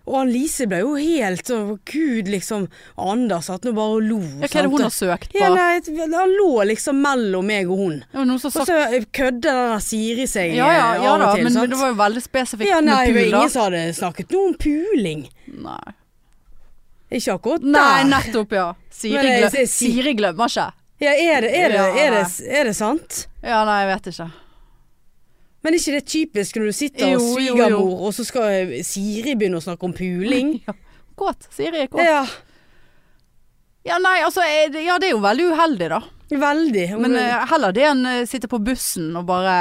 Speaker 2: Og Annelise ble jo helt sånn Gud, liksom. Anders satt nå bare og lo.
Speaker 1: Ja, hva er det hun har søkt på?
Speaker 2: ja, nei, Han lå liksom mellom meg og hun.
Speaker 1: Det var noen som
Speaker 2: Og
Speaker 1: sagt
Speaker 2: så kødde den der Siri seg
Speaker 1: Ja ja,
Speaker 2: eh,
Speaker 1: ja
Speaker 2: av
Speaker 1: da,
Speaker 2: og til.
Speaker 1: men, men
Speaker 2: sant?
Speaker 1: det var jo veldig spesifikt
Speaker 2: ja, nei, det var
Speaker 1: med
Speaker 2: ingen
Speaker 1: pul,
Speaker 2: som hadde snakket noe om puling.
Speaker 1: da. Nei.
Speaker 2: Ikke akkurat
Speaker 1: Nei,
Speaker 2: der.
Speaker 1: nettopp, ja. Siri,
Speaker 2: Men jeg
Speaker 1: glem,
Speaker 2: ser-
Speaker 1: Siri glemmer ikke.
Speaker 2: Ja, er, det, er, det,
Speaker 1: Ja,
Speaker 2: er, det,
Speaker 1: nei.
Speaker 2: er det sant?
Speaker 1: Ja, nei, jeg vet ikke.
Speaker 2: Men er ikke det typisk når du sitter hos
Speaker 1: Jo, jo, jo.
Speaker 2: svigermor, og så skal eh, Siri begynne å snakke om puling?
Speaker 1: Ja. Kåt. Siri er kåt.
Speaker 2: Ja.
Speaker 1: Ja, nei, altså, er det- ja, det er jo veldig uheldig, da.
Speaker 2: Veldig. Hun-
Speaker 1: Men eh, heller det enn eh, sitte på bussen og bare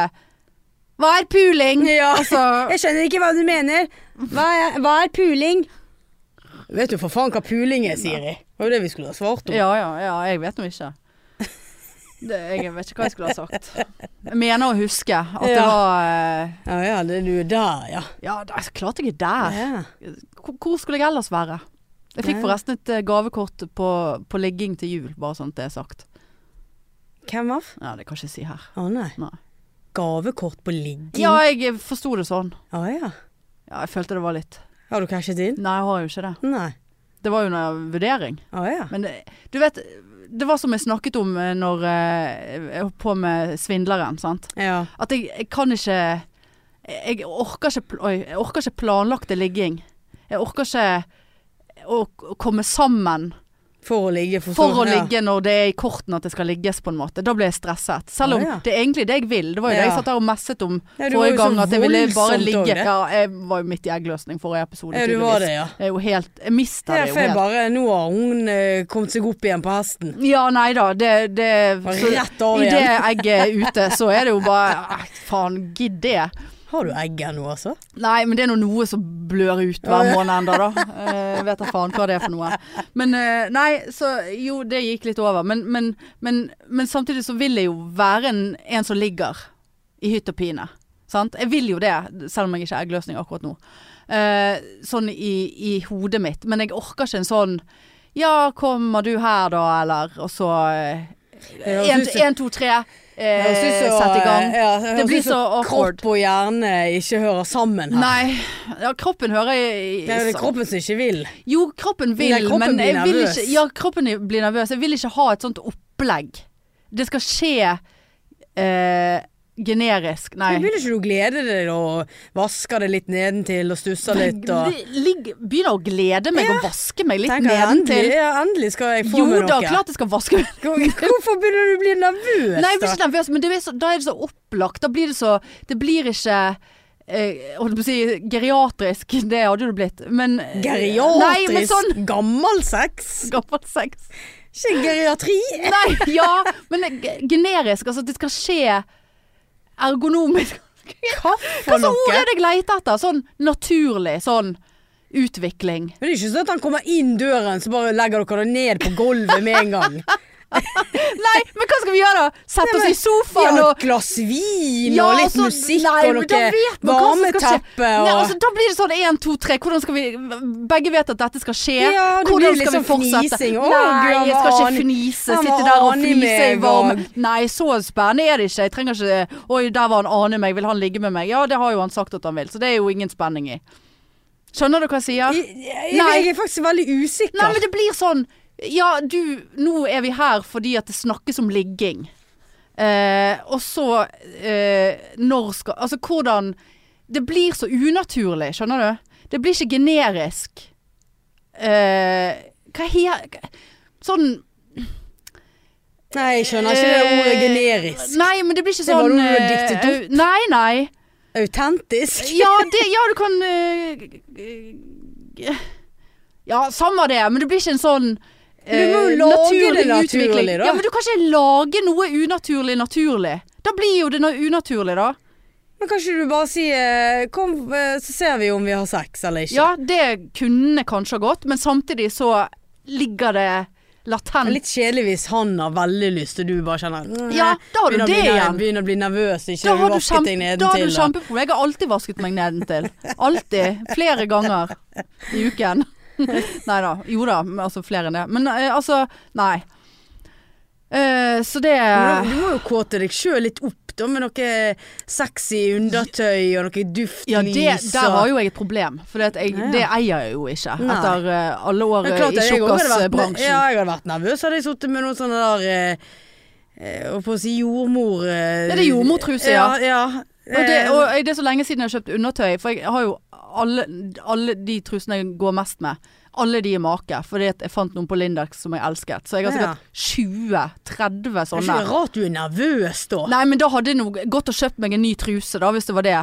Speaker 1: Hva er puling?
Speaker 2: Ja.
Speaker 1: Altså,
Speaker 2: Jeg skjønner ikke hva du mener. Hva er, hva er puling? Vet du for faen hva puling er, Siri? Det var jo det vi skulle ha svart om.
Speaker 1: ja, ja, ja, jeg vet nå ikke. Det, jeg vet ikke hva jeg skulle ha sagt. Jeg mener å huske at det
Speaker 2: Ja.
Speaker 1: var eh,
Speaker 2: ja, ja, det er du der, ja.
Speaker 1: Ja, da, altså, klart jeg er der.
Speaker 2: ja.
Speaker 1: Hvor hvor skulle jeg ellers være? Jeg fikk
Speaker 2: Nei.
Speaker 1: forresten et eh, gavekort på, på ligging til jul, bare sånn at det er sagt.
Speaker 2: Hvem av?
Speaker 1: Ja, det kan jeg ikke si her.
Speaker 2: Å nei.
Speaker 1: Nei.
Speaker 2: Gavekort på ligging?
Speaker 1: Ja, jeg forsto det sånn.
Speaker 2: Å, ja.
Speaker 1: Ja, jeg følte det var litt
Speaker 2: Har du cashet inn?
Speaker 1: Nei, jeg har jo ikke det.
Speaker 2: Nei.
Speaker 1: Det var jo under vurdering.
Speaker 2: Å ja.
Speaker 1: Men det, du vet, det var som jeg snakket om eh, når eh, jeg holdt på med svindleren, sant.
Speaker 2: Ja.
Speaker 1: At jeg, jeg kan ikke Jeg orker ikke, pl- oi, jeg orker ikke planlagte ligging. Jeg orker ikke å å komme sammen
Speaker 2: For å ligge, for, sånn,
Speaker 1: for å
Speaker 2: ja.
Speaker 1: ligge når det er i kortene at det skal ligges, på en måte. Da blir jeg stresset. Selv om
Speaker 2: Ja, ja.
Speaker 1: det er egentlig det jeg vil. Det var jo det jeg
Speaker 2: Ja.
Speaker 1: satt der og messet om
Speaker 2: Ja, du var jo så
Speaker 1: forrige gang. At jeg ville bare
Speaker 2: voldsomt om
Speaker 1: ligge.
Speaker 2: det.
Speaker 1: Ja, jeg var jo midt i eggløsning forrige episode,
Speaker 2: Ja, du var det, ja.
Speaker 1: Jeg er jo helt Jeg mista
Speaker 2: Ja,
Speaker 1: det jo
Speaker 2: for jeg
Speaker 1: helt.
Speaker 2: bare, nå har hun eh, kommet seg opp igjen på hesten.
Speaker 1: Ja, nei da. Det, det
Speaker 2: Bare
Speaker 1: så-
Speaker 2: rett av
Speaker 1: I det
Speaker 2: igjen.
Speaker 1: egget er ute, så er det jo bare "Ah, Faen, gidd det.
Speaker 2: Har du egg her nå, altså?
Speaker 1: Nei, men det er nå noe som blør ut hver måned enda da. Eh, vet da faen hva det er for noe. Men eh, nei, så jo, det gikk litt over. Men, men, men, men samtidig så vil jeg jo være en, en som ligger i hytt og pine. Sant? Jeg vil jo det, selv om jeg ikke er eggløsning akkurat nå. Eh, sånn i, i hodet mitt. Men jeg orker ikke en sånn Ja, kommer du her da, eller? Og så eh,
Speaker 2: høres ut som-
Speaker 1: Én, to, tre.
Speaker 2: Det høres ut som,
Speaker 1: Sett i gang.
Speaker 2: eh, Ja, det høres
Speaker 1: blir
Speaker 2: ut som
Speaker 1: så awkward.
Speaker 2: Kropp og hjerne ikke hører sammen her.
Speaker 1: Nei. Ja, kroppen hører jeg
Speaker 2: Det er jo det kroppen som ikke vil.
Speaker 1: Jo, kroppen vil,
Speaker 2: Nei, kroppen
Speaker 1: men
Speaker 2: blir
Speaker 1: jeg vil
Speaker 2: nervøs.
Speaker 1: ikke Ja, kroppen blir nervøs. Jeg vil ikke ha et sånt opplegg. Det skal skje eh, generisk. Nei.
Speaker 2: Men Vil ikke du glede deg og vaske det litt nedentil og stusse litt og
Speaker 1: Li- ligg- Begynner å glede meg og vaske meg litt
Speaker 2: Tenker jeg,
Speaker 1: nedentil.
Speaker 2: Endelig, ja, endelig skal jeg få
Speaker 1: Jo
Speaker 2: meg noe.
Speaker 1: da, klart jeg skal vaske meg.
Speaker 2: Hvorfor begynner du å bli nervøs?
Speaker 1: Nei, jeg blir
Speaker 2: da?
Speaker 1: ikke nervøs, men det er så, da er det så opplagt. Da blir det så Det blir ikke eh, holdt på å si geriatrisk. Det hadde jo det blitt. Men
Speaker 2: Geriatrisk?
Speaker 1: Nei, men sånn
Speaker 2: Gammel sex?
Speaker 1: Gammel sex.
Speaker 2: Ikke geriatri?
Speaker 1: Nei, ja, men g- generisk. Altså, det skal skje ergonomisk.
Speaker 2: Hva
Speaker 1: Hva
Speaker 2: for
Speaker 1: slags ord
Speaker 2: noe?
Speaker 1: er det jeg leter etter? Sånn naturlig, sånn utvikling.
Speaker 2: Men det er ikke sånn at han kommer inn døren, så bare legger dere det ned på gulvet med en gang.
Speaker 1: Nei, men hva skal vi gjøre da? Sette oss i
Speaker 2: Ja,
Speaker 1: sofaen
Speaker 2: et
Speaker 1: og
Speaker 2: glass vin
Speaker 1: Ja,
Speaker 2: og litt
Speaker 1: altså,
Speaker 2: musikk
Speaker 1: nei,
Speaker 2: og
Speaker 1: men da
Speaker 2: noe
Speaker 1: vet man hva som skal skje.
Speaker 2: varmeteppe
Speaker 1: Nei,
Speaker 2: og
Speaker 1: altså, da blir det sånn én, to, tre. Hvordan skal vi Begge vet at dette skal skje.
Speaker 2: Ja, det blir
Speaker 1: Hvordan skal
Speaker 2: litt
Speaker 1: vi
Speaker 2: sånn
Speaker 1: fortsette?
Speaker 2: fnising. Å, Gud,
Speaker 1: Nei,
Speaker 2: han
Speaker 1: jeg
Speaker 2: var
Speaker 1: skal ikke
Speaker 2: aning-
Speaker 1: fnise.
Speaker 2: han
Speaker 1: Sitte
Speaker 2: var
Speaker 1: der og
Speaker 2: aning
Speaker 1: fnise i
Speaker 2: meg,
Speaker 1: varme
Speaker 2: og-
Speaker 1: Nei, så spennende er det ikke. Jeg trenger ikke Oi, der var han aner meg. Vil han ligge med meg? Ja, det har jo han sagt at han vil, så det er jo ingen spenning i. Skjønner du hva jeg sier?
Speaker 2: Jeg, jeg,
Speaker 1: Nei.
Speaker 2: jeg er faktisk veldig usikker.
Speaker 1: Nei, men det blir sånn Ja, du, nå er vi her fordi at det snakkes om ligging. Eh, og så eh, Når skal Altså, hvordan Det blir så unaturlig, skjønner du? Det blir ikke generisk. Eh, hva he... hva- Sånn
Speaker 2: Nei, jeg skjønner ikke det ordet
Speaker 1: Eh,
Speaker 2: generisk.
Speaker 1: Nei, men det blir ikke
Speaker 2: Det var
Speaker 1: sånn
Speaker 2: noe du
Speaker 1: eh,
Speaker 2: diktet
Speaker 1: au- Nei, nei.
Speaker 2: Autentisk.
Speaker 1: Ja, det, ja du kan eh, eh, Ja, samme det, men det blir ikke en sånn
Speaker 2: Men du må jo
Speaker 1: eh,
Speaker 2: lage det
Speaker 1: naturlig utvikling.
Speaker 2: naturlig, da.
Speaker 1: Ja, men du kan ikke lage noe unaturlig naturlig. Da blir jo det noe unaturlig, da.
Speaker 2: Men kan ikke du bare si eh, Kom, eh, så ser vi om vi har sex eller ikke.
Speaker 1: Ja, det kunne kanskje ha gått, men samtidig så ligger det
Speaker 2: Det er
Speaker 1: latent.
Speaker 2: Litt kjedelig hvis han har veldig lyst, og du bare kjenner mm,
Speaker 1: Ja, da har du
Speaker 2: begynner å
Speaker 1: det
Speaker 2: bli-
Speaker 1: igjen.
Speaker 2: Begynner å bli nervøs, ikke
Speaker 1: Da
Speaker 2: du
Speaker 1: har, du
Speaker 2: vasket
Speaker 1: kjempe,
Speaker 2: deg
Speaker 1: da har du
Speaker 2: nedentil. da.
Speaker 1: kjempeproblem. Jeg har alltid vasket meg nedentil. Alltid. Flere ganger i uken. nei da. Jo da, men altså flere enn det. Men eh, altså, nei. Eh, så det
Speaker 2: Men Du, du må jo kåte deg sjøl litt opp da, med noe sexy undertøy og noe duftlys.
Speaker 1: Ja, det, der
Speaker 2: og-
Speaker 1: har jo jeg et problem. For det, at jeg, det eier jeg jo ikke.
Speaker 2: Nei.
Speaker 1: Etter eh, alle år
Speaker 2: Det er
Speaker 1: eh,
Speaker 2: klart
Speaker 1: i
Speaker 2: at jeg også hadde vært-
Speaker 1: tjukkasbransjen.
Speaker 2: Ja, jeg hadde vært nervøs hadde jeg sittet med noen sånne der eh, eh, Holdt på å si jordmor... Eh,
Speaker 1: Ja, det er jordmortruse, ja.
Speaker 2: ja,
Speaker 1: Og det,
Speaker 2: Eh,
Speaker 1: og det er så lenge siden jeg har kjøpt undertøy, for jeg har jo alle, alle de trusene jeg går mest med. Alle de er make, fordi at jeg fant noen på Lindex som jeg elsket. Så jeg har
Speaker 2: Ja.
Speaker 1: sikkert 20-30
Speaker 2: det er
Speaker 1: sånne.
Speaker 2: ikke rart du er nervøs da.
Speaker 1: Nei, men da hadde jeg nå gått og kjøpt meg en ny truse, da, hvis det var det.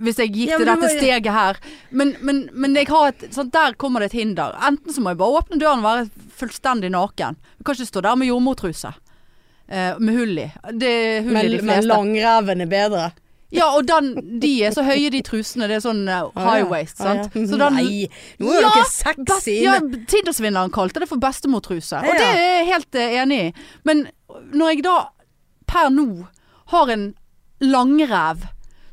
Speaker 1: Hvis jeg gikk
Speaker 2: Ja,
Speaker 1: til
Speaker 2: men du
Speaker 1: dette
Speaker 2: må-
Speaker 1: steget her. Men, men, men jeg har et, sånn, der kommer det et hinder. Enten så må jeg bare åpne døren og være fullstendig naken. Jeg kan ikke stå der med jordmortruse. eh, med hull i. Det er hull i
Speaker 2: Men,
Speaker 1: de
Speaker 2: men
Speaker 1: fleste.
Speaker 2: langreven er bedre.
Speaker 1: Ja, og den, de er så høye, de trusene. Det er sånn eh, high waist,
Speaker 2: Ah, ja.
Speaker 1: sant. Så den,
Speaker 2: Nei, nå er
Speaker 1: Ja,
Speaker 2: dere sexy
Speaker 1: Best-
Speaker 2: inne.
Speaker 1: Ja, Tindersvindleren kalte det for bestemortruse,
Speaker 2: Ja.
Speaker 1: og det er jeg helt eh, enig i. Men når jeg da per nå har en langrev,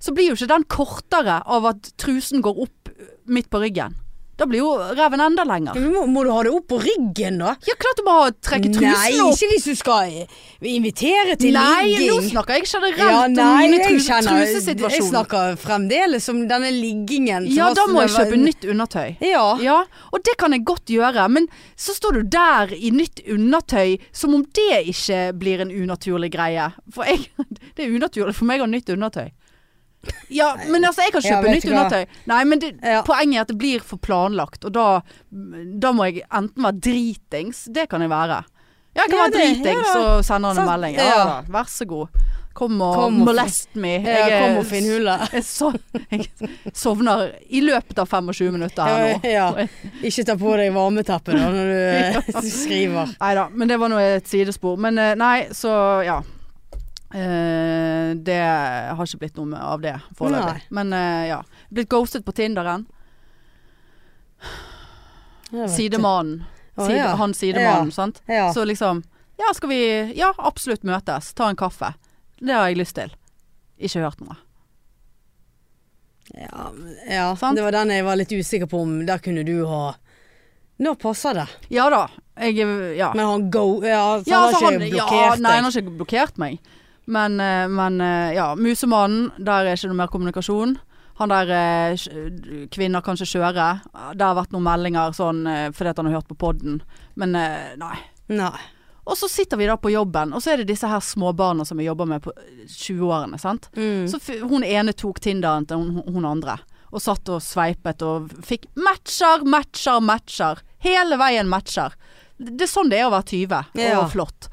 Speaker 1: så blir jo ikke den kortere av at trusen går opp midt på ryggen. Da blir jo reven enda
Speaker 2: Ja,
Speaker 1: lenger.
Speaker 2: men må, må du ha det opp på ryggen, da?
Speaker 1: Ja, klart du må ha trekke
Speaker 2: Nei,
Speaker 1: trusen opp.
Speaker 2: ikke hvis du skal eh, invitere til
Speaker 1: nei, nå
Speaker 2: ligging.
Speaker 1: snakker jeg generelt
Speaker 2: Ja,
Speaker 1: om
Speaker 2: nei,
Speaker 1: mine
Speaker 2: jeg
Speaker 1: trus
Speaker 2: kjenner Jeg
Speaker 1: trusesituasjoner.
Speaker 2: snakker fremdeles om denne liggingen. som
Speaker 1: Ja,
Speaker 2: har
Speaker 1: da må jeg
Speaker 2: snøvet-
Speaker 1: kjøpe nytt undertøy.
Speaker 2: Ja.
Speaker 1: Ja, og det kan jeg godt gjøre, men så står du der i nytt undertøy som om det ikke blir en unaturlig greie. For jeg, det er unaturlig for meg å ha nytt undertøy. Ja, men altså, jeg kan
Speaker 2: Ja,
Speaker 1: kjøpe
Speaker 2: vet
Speaker 1: nytt
Speaker 2: du hva?
Speaker 1: undertøy. Nei, men det,
Speaker 2: Ja.
Speaker 1: poenget er at det blir for planlagt, og da, da må jeg enten være dritings, det kan jeg være. Ja, jeg kan
Speaker 2: Ja,
Speaker 1: være
Speaker 2: det-
Speaker 1: dritings,
Speaker 2: ja da.
Speaker 1: og sende han en
Speaker 2: Sant.
Speaker 1: melding. Ja,
Speaker 2: Ja.
Speaker 1: da, vær så god. Kom og,
Speaker 2: Kom og
Speaker 1: molest me.
Speaker 2: Ja,
Speaker 1: Jeg er-
Speaker 2: kom og finn hullet.
Speaker 1: Jeg, so jeg sovner i løpet av 25 minutter her nå.
Speaker 2: Ja, ja. Ikke ta på deg varmeteppet da når du
Speaker 1: Ja.
Speaker 2: skriver.
Speaker 1: Nei da, men det var nå et sidespor. Men eh, nei, så ja. Eh, det har ikke blitt noe med- av det foreløpig. Men eh, ja. Blitt ghostet på Tinderen. Sidemannen.
Speaker 2: Å,
Speaker 1: Side,
Speaker 2: ja.
Speaker 1: Han sidemannen,
Speaker 2: Ja.
Speaker 1: sant.
Speaker 2: Ja.
Speaker 1: Så liksom Ja, skal vi Ja, absolutt møtes. Ta en kaffe. Det har jeg lyst til. Ikke hørt noe.
Speaker 2: Ja, ja.
Speaker 1: Sant?
Speaker 2: det var den jeg var litt usikker på om der kunne du ha Nå passer det.
Speaker 1: Ja da. Jeg Ja.
Speaker 2: Men han go... Ja, så
Speaker 1: Ja,
Speaker 2: han
Speaker 1: altså,
Speaker 2: har ikke
Speaker 1: ja,
Speaker 2: blokkert
Speaker 1: Nei, han
Speaker 2: deg.
Speaker 1: har ikke blokkert meg. Men, eh, men eh, ja, Musemannen, der er ikke noe mer kommunikasjon. Han der eh, sj- kvinner kan ikke kjøre. Det har vært noen meldinger sånn eh, fordi at han har hørt på podden. Men eh, nei.
Speaker 2: Nei.
Speaker 1: Og så sitter vi da på jobben, og så er det disse her småbarna som jeg jobber med på 20-årene. sant?
Speaker 2: Mm.
Speaker 1: Så f hun ene tok Tinderen til hun, hun andre. Og satt og sveipet og fikk matcher, matcher, matcher. Hele veien matcher. Det er sånn det er å være 20 og
Speaker 2: Ja.
Speaker 1: flott.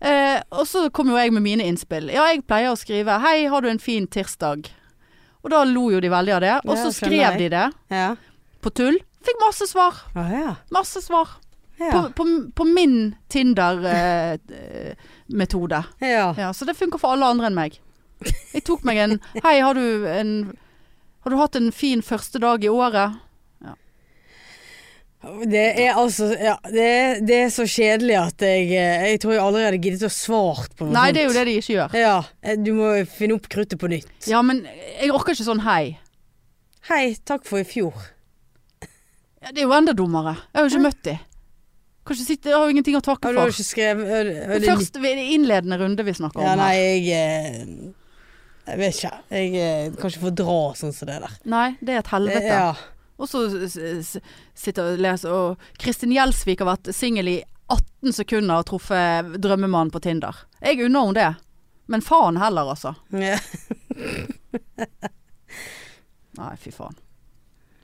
Speaker 1: Eh, og så kom jo jeg med mine innspill. Ja, jeg pleier å skrive 'Hei, har du en fin tirsdag?' Og da lo jo de veldig av det. Og
Speaker 2: Ja,
Speaker 1: så
Speaker 2: skjønner
Speaker 1: skrev
Speaker 2: jeg.
Speaker 1: de det
Speaker 2: Ja.
Speaker 1: på tull. Fikk masse svar.
Speaker 2: Ah, ja.
Speaker 1: Masse svar.
Speaker 2: Ja.
Speaker 1: På, på, på min eh, Tinder-metode.
Speaker 2: ja.
Speaker 1: Ja, så det funker for alle andre enn meg. Jeg tok meg en Hei, har du en Har du hatt en fin første dag i året?
Speaker 2: Det er altså ja, det, er, det er så kjedelig at jeg eh, Jeg tror jeg aldri hadde giddet å svart på noe
Speaker 1: Nei, det er jo det de ikke gjør.
Speaker 2: Ja. eh, Du må finne opp kruttet på nytt.
Speaker 1: Ja, men jeg orker ikke sånn hei.
Speaker 2: Hei, takk for i fjor.
Speaker 1: Ja, det er jo enda dummere. Jeg har jo ikke møtt de. Kan ikke sitte, jeg har jo ingenting å
Speaker 2: Ja,
Speaker 1: takke
Speaker 2: du har jo
Speaker 1: for.
Speaker 2: ikke skrevet er det- er
Speaker 1: Det
Speaker 2: det-
Speaker 1: første det er innledende runde vi snakker
Speaker 2: Ja,
Speaker 1: om
Speaker 2: nei,
Speaker 1: her.
Speaker 2: jeg eh, Jeg vet ikke. Jeg eh, kan ikke fordra sånn som det der.
Speaker 1: Nei, det er et
Speaker 2: Det-
Speaker 1: helvete.
Speaker 2: Ja.
Speaker 1: Og så s- s- sitter og leser Og Kristin Gjelsvik har vært singel i 18 sekunder og truffet drømmemannen på Tinder. Jeg unner henne det. Men faen heller, altså.
Speaker 2: Ja.
Speaker 1: Nei, fy faen.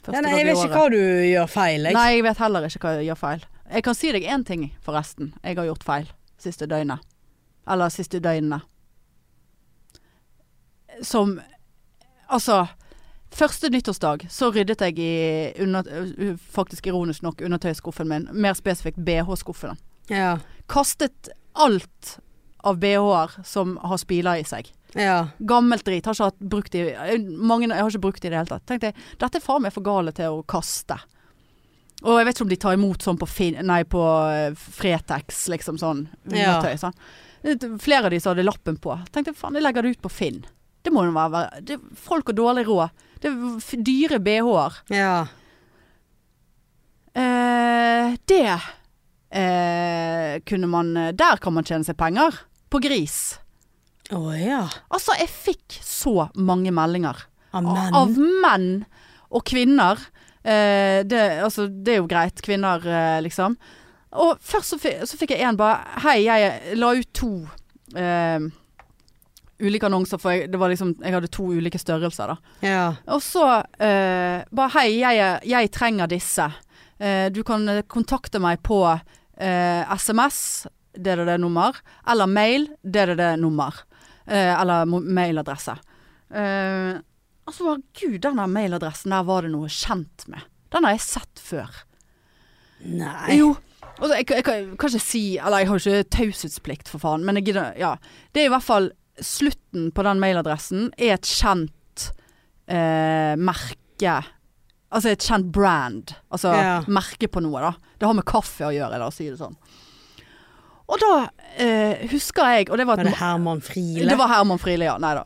Speaker 2: Ja, nei, jeg vet ikke hva du gjør feil, jeg.
Speaker 1: Nei, jeg vet heller ikke hva jeg gjør feil. Jeg kan si deg én ting, forresten. Jeg har gjort feil siste døgnet. Eller siste døgnene. Som Altså. Første nyttårsdag så ryddet jeg i under, øh, faktisk ironisk nok undertøyskuffen min. Mer spesifikt BH-skuffen.
Speaker 2: Ja.
Speaker 1: Kastet alt av BH-er som har spiler i seg.
Speaker 2: ja.
Speaker 1: Gammelt drit. Har ikke hatt brukt i mange, Jeg har ikke brukt det i det hele tatt. Tenkte jeg, dette er faen meg for gale til å kaste. Og jeg vet ikke om de tar imot sånn på, fin, nei, på eh, Fretex, liksom sånn.
Speaker 2: Ja.
Speaker 1: Undertøy, sant? Det- Flere av de som hadde lappen på. Tenkte jeg, faen, jeg legger det ut på Finn. Det må jo være- være det, Folk har dårlig råd. Det er f- dyre BH-er.
Speaker 2: Ja.
Speaker 1: Eh, det eh, kunne man Der kan man tjene seg penger. På gris.
Speaker 2: Å ja.
Speaker 1: Altså, jeg fikk så mange meldinger.
Speaker 2: Amen.
Speaker 1: Av menn og kvinner. Eh, det, altså, det er jo greit, kvinner, eh, liksom. Og først så, fi- så fikk jeg en bare Hei, jeg la ut to eh, ulike annonser, for jeg, det var liksom, jeg hadde to ulike størrelser, da.
Speaker 2: ja.
Speaker 1: Og så eh, bare Hei, jeg, er- jeg trenger disse. Eh, du kan eh, kontakte meg på eh, SMS, det er det nummer, eller mail, det er det nummer. Eh, eller mo- mailadresse. Eh, altså, bare, gud, den der mailadressen der var det noe kjent med. Den har jeg sett før.
Speaker 2: Nei.
Speaker 1: Jo. Altså, jeg, jeg, kan- jeg kan ikke si Eller jeg har jo ikke taushetsplikt, for faen. Men jeg gidder Ja. Det er i hvert fall Slutten på den mailadressen er et kjent eh, merke Altså et kjent brand. Altså
Speaker 2: Ja.
Speaker 1: merke på noe, da. Det har med kaffe å gjøre, la oss si det sånn. Og da eh, husker jeg Og det var
Speaker 2: Var
Speaker 1: et
Speaker 2: det Herman Friele?
Speaker 1: det var Herman Friele, ja. Nei da.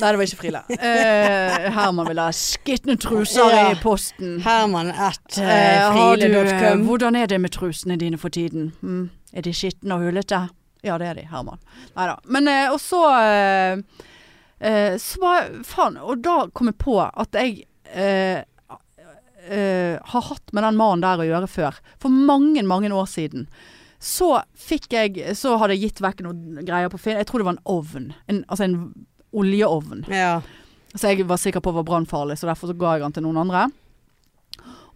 Speaker 1: Nei, det var ikke Friele. Eh, Herman ville ha skitne truser
Speaker 2: Ja.
Speaker 1: i posten.
Speaker 2: Herman at
Speaker 1: Eh,
Speaker 2: eh,
Speaker 1: har du, eh,
Speaker 2: friele.com.
Speaker 1: hvordan er det med trusene dine for tiden? Mm. Er de skitne og hullete? Ja, det er de, Herman. Nei da. Men eh, og så eh, eh, Så var Faen. Og da kom jeg på at jeg eh, eh, har hatt med den mannen der å gjøre før. For mange, mange år siden. Så fikk jeg Så hadde jeg gitt vekk noen greier på Finn. Jeg tror det var en ovn. En, altså en oljeovn.
Speaker 2: Ja.
Speaker 1: Så jeg var sikker på at var brannfarlig, så derfor så ga jeg den til noen andre.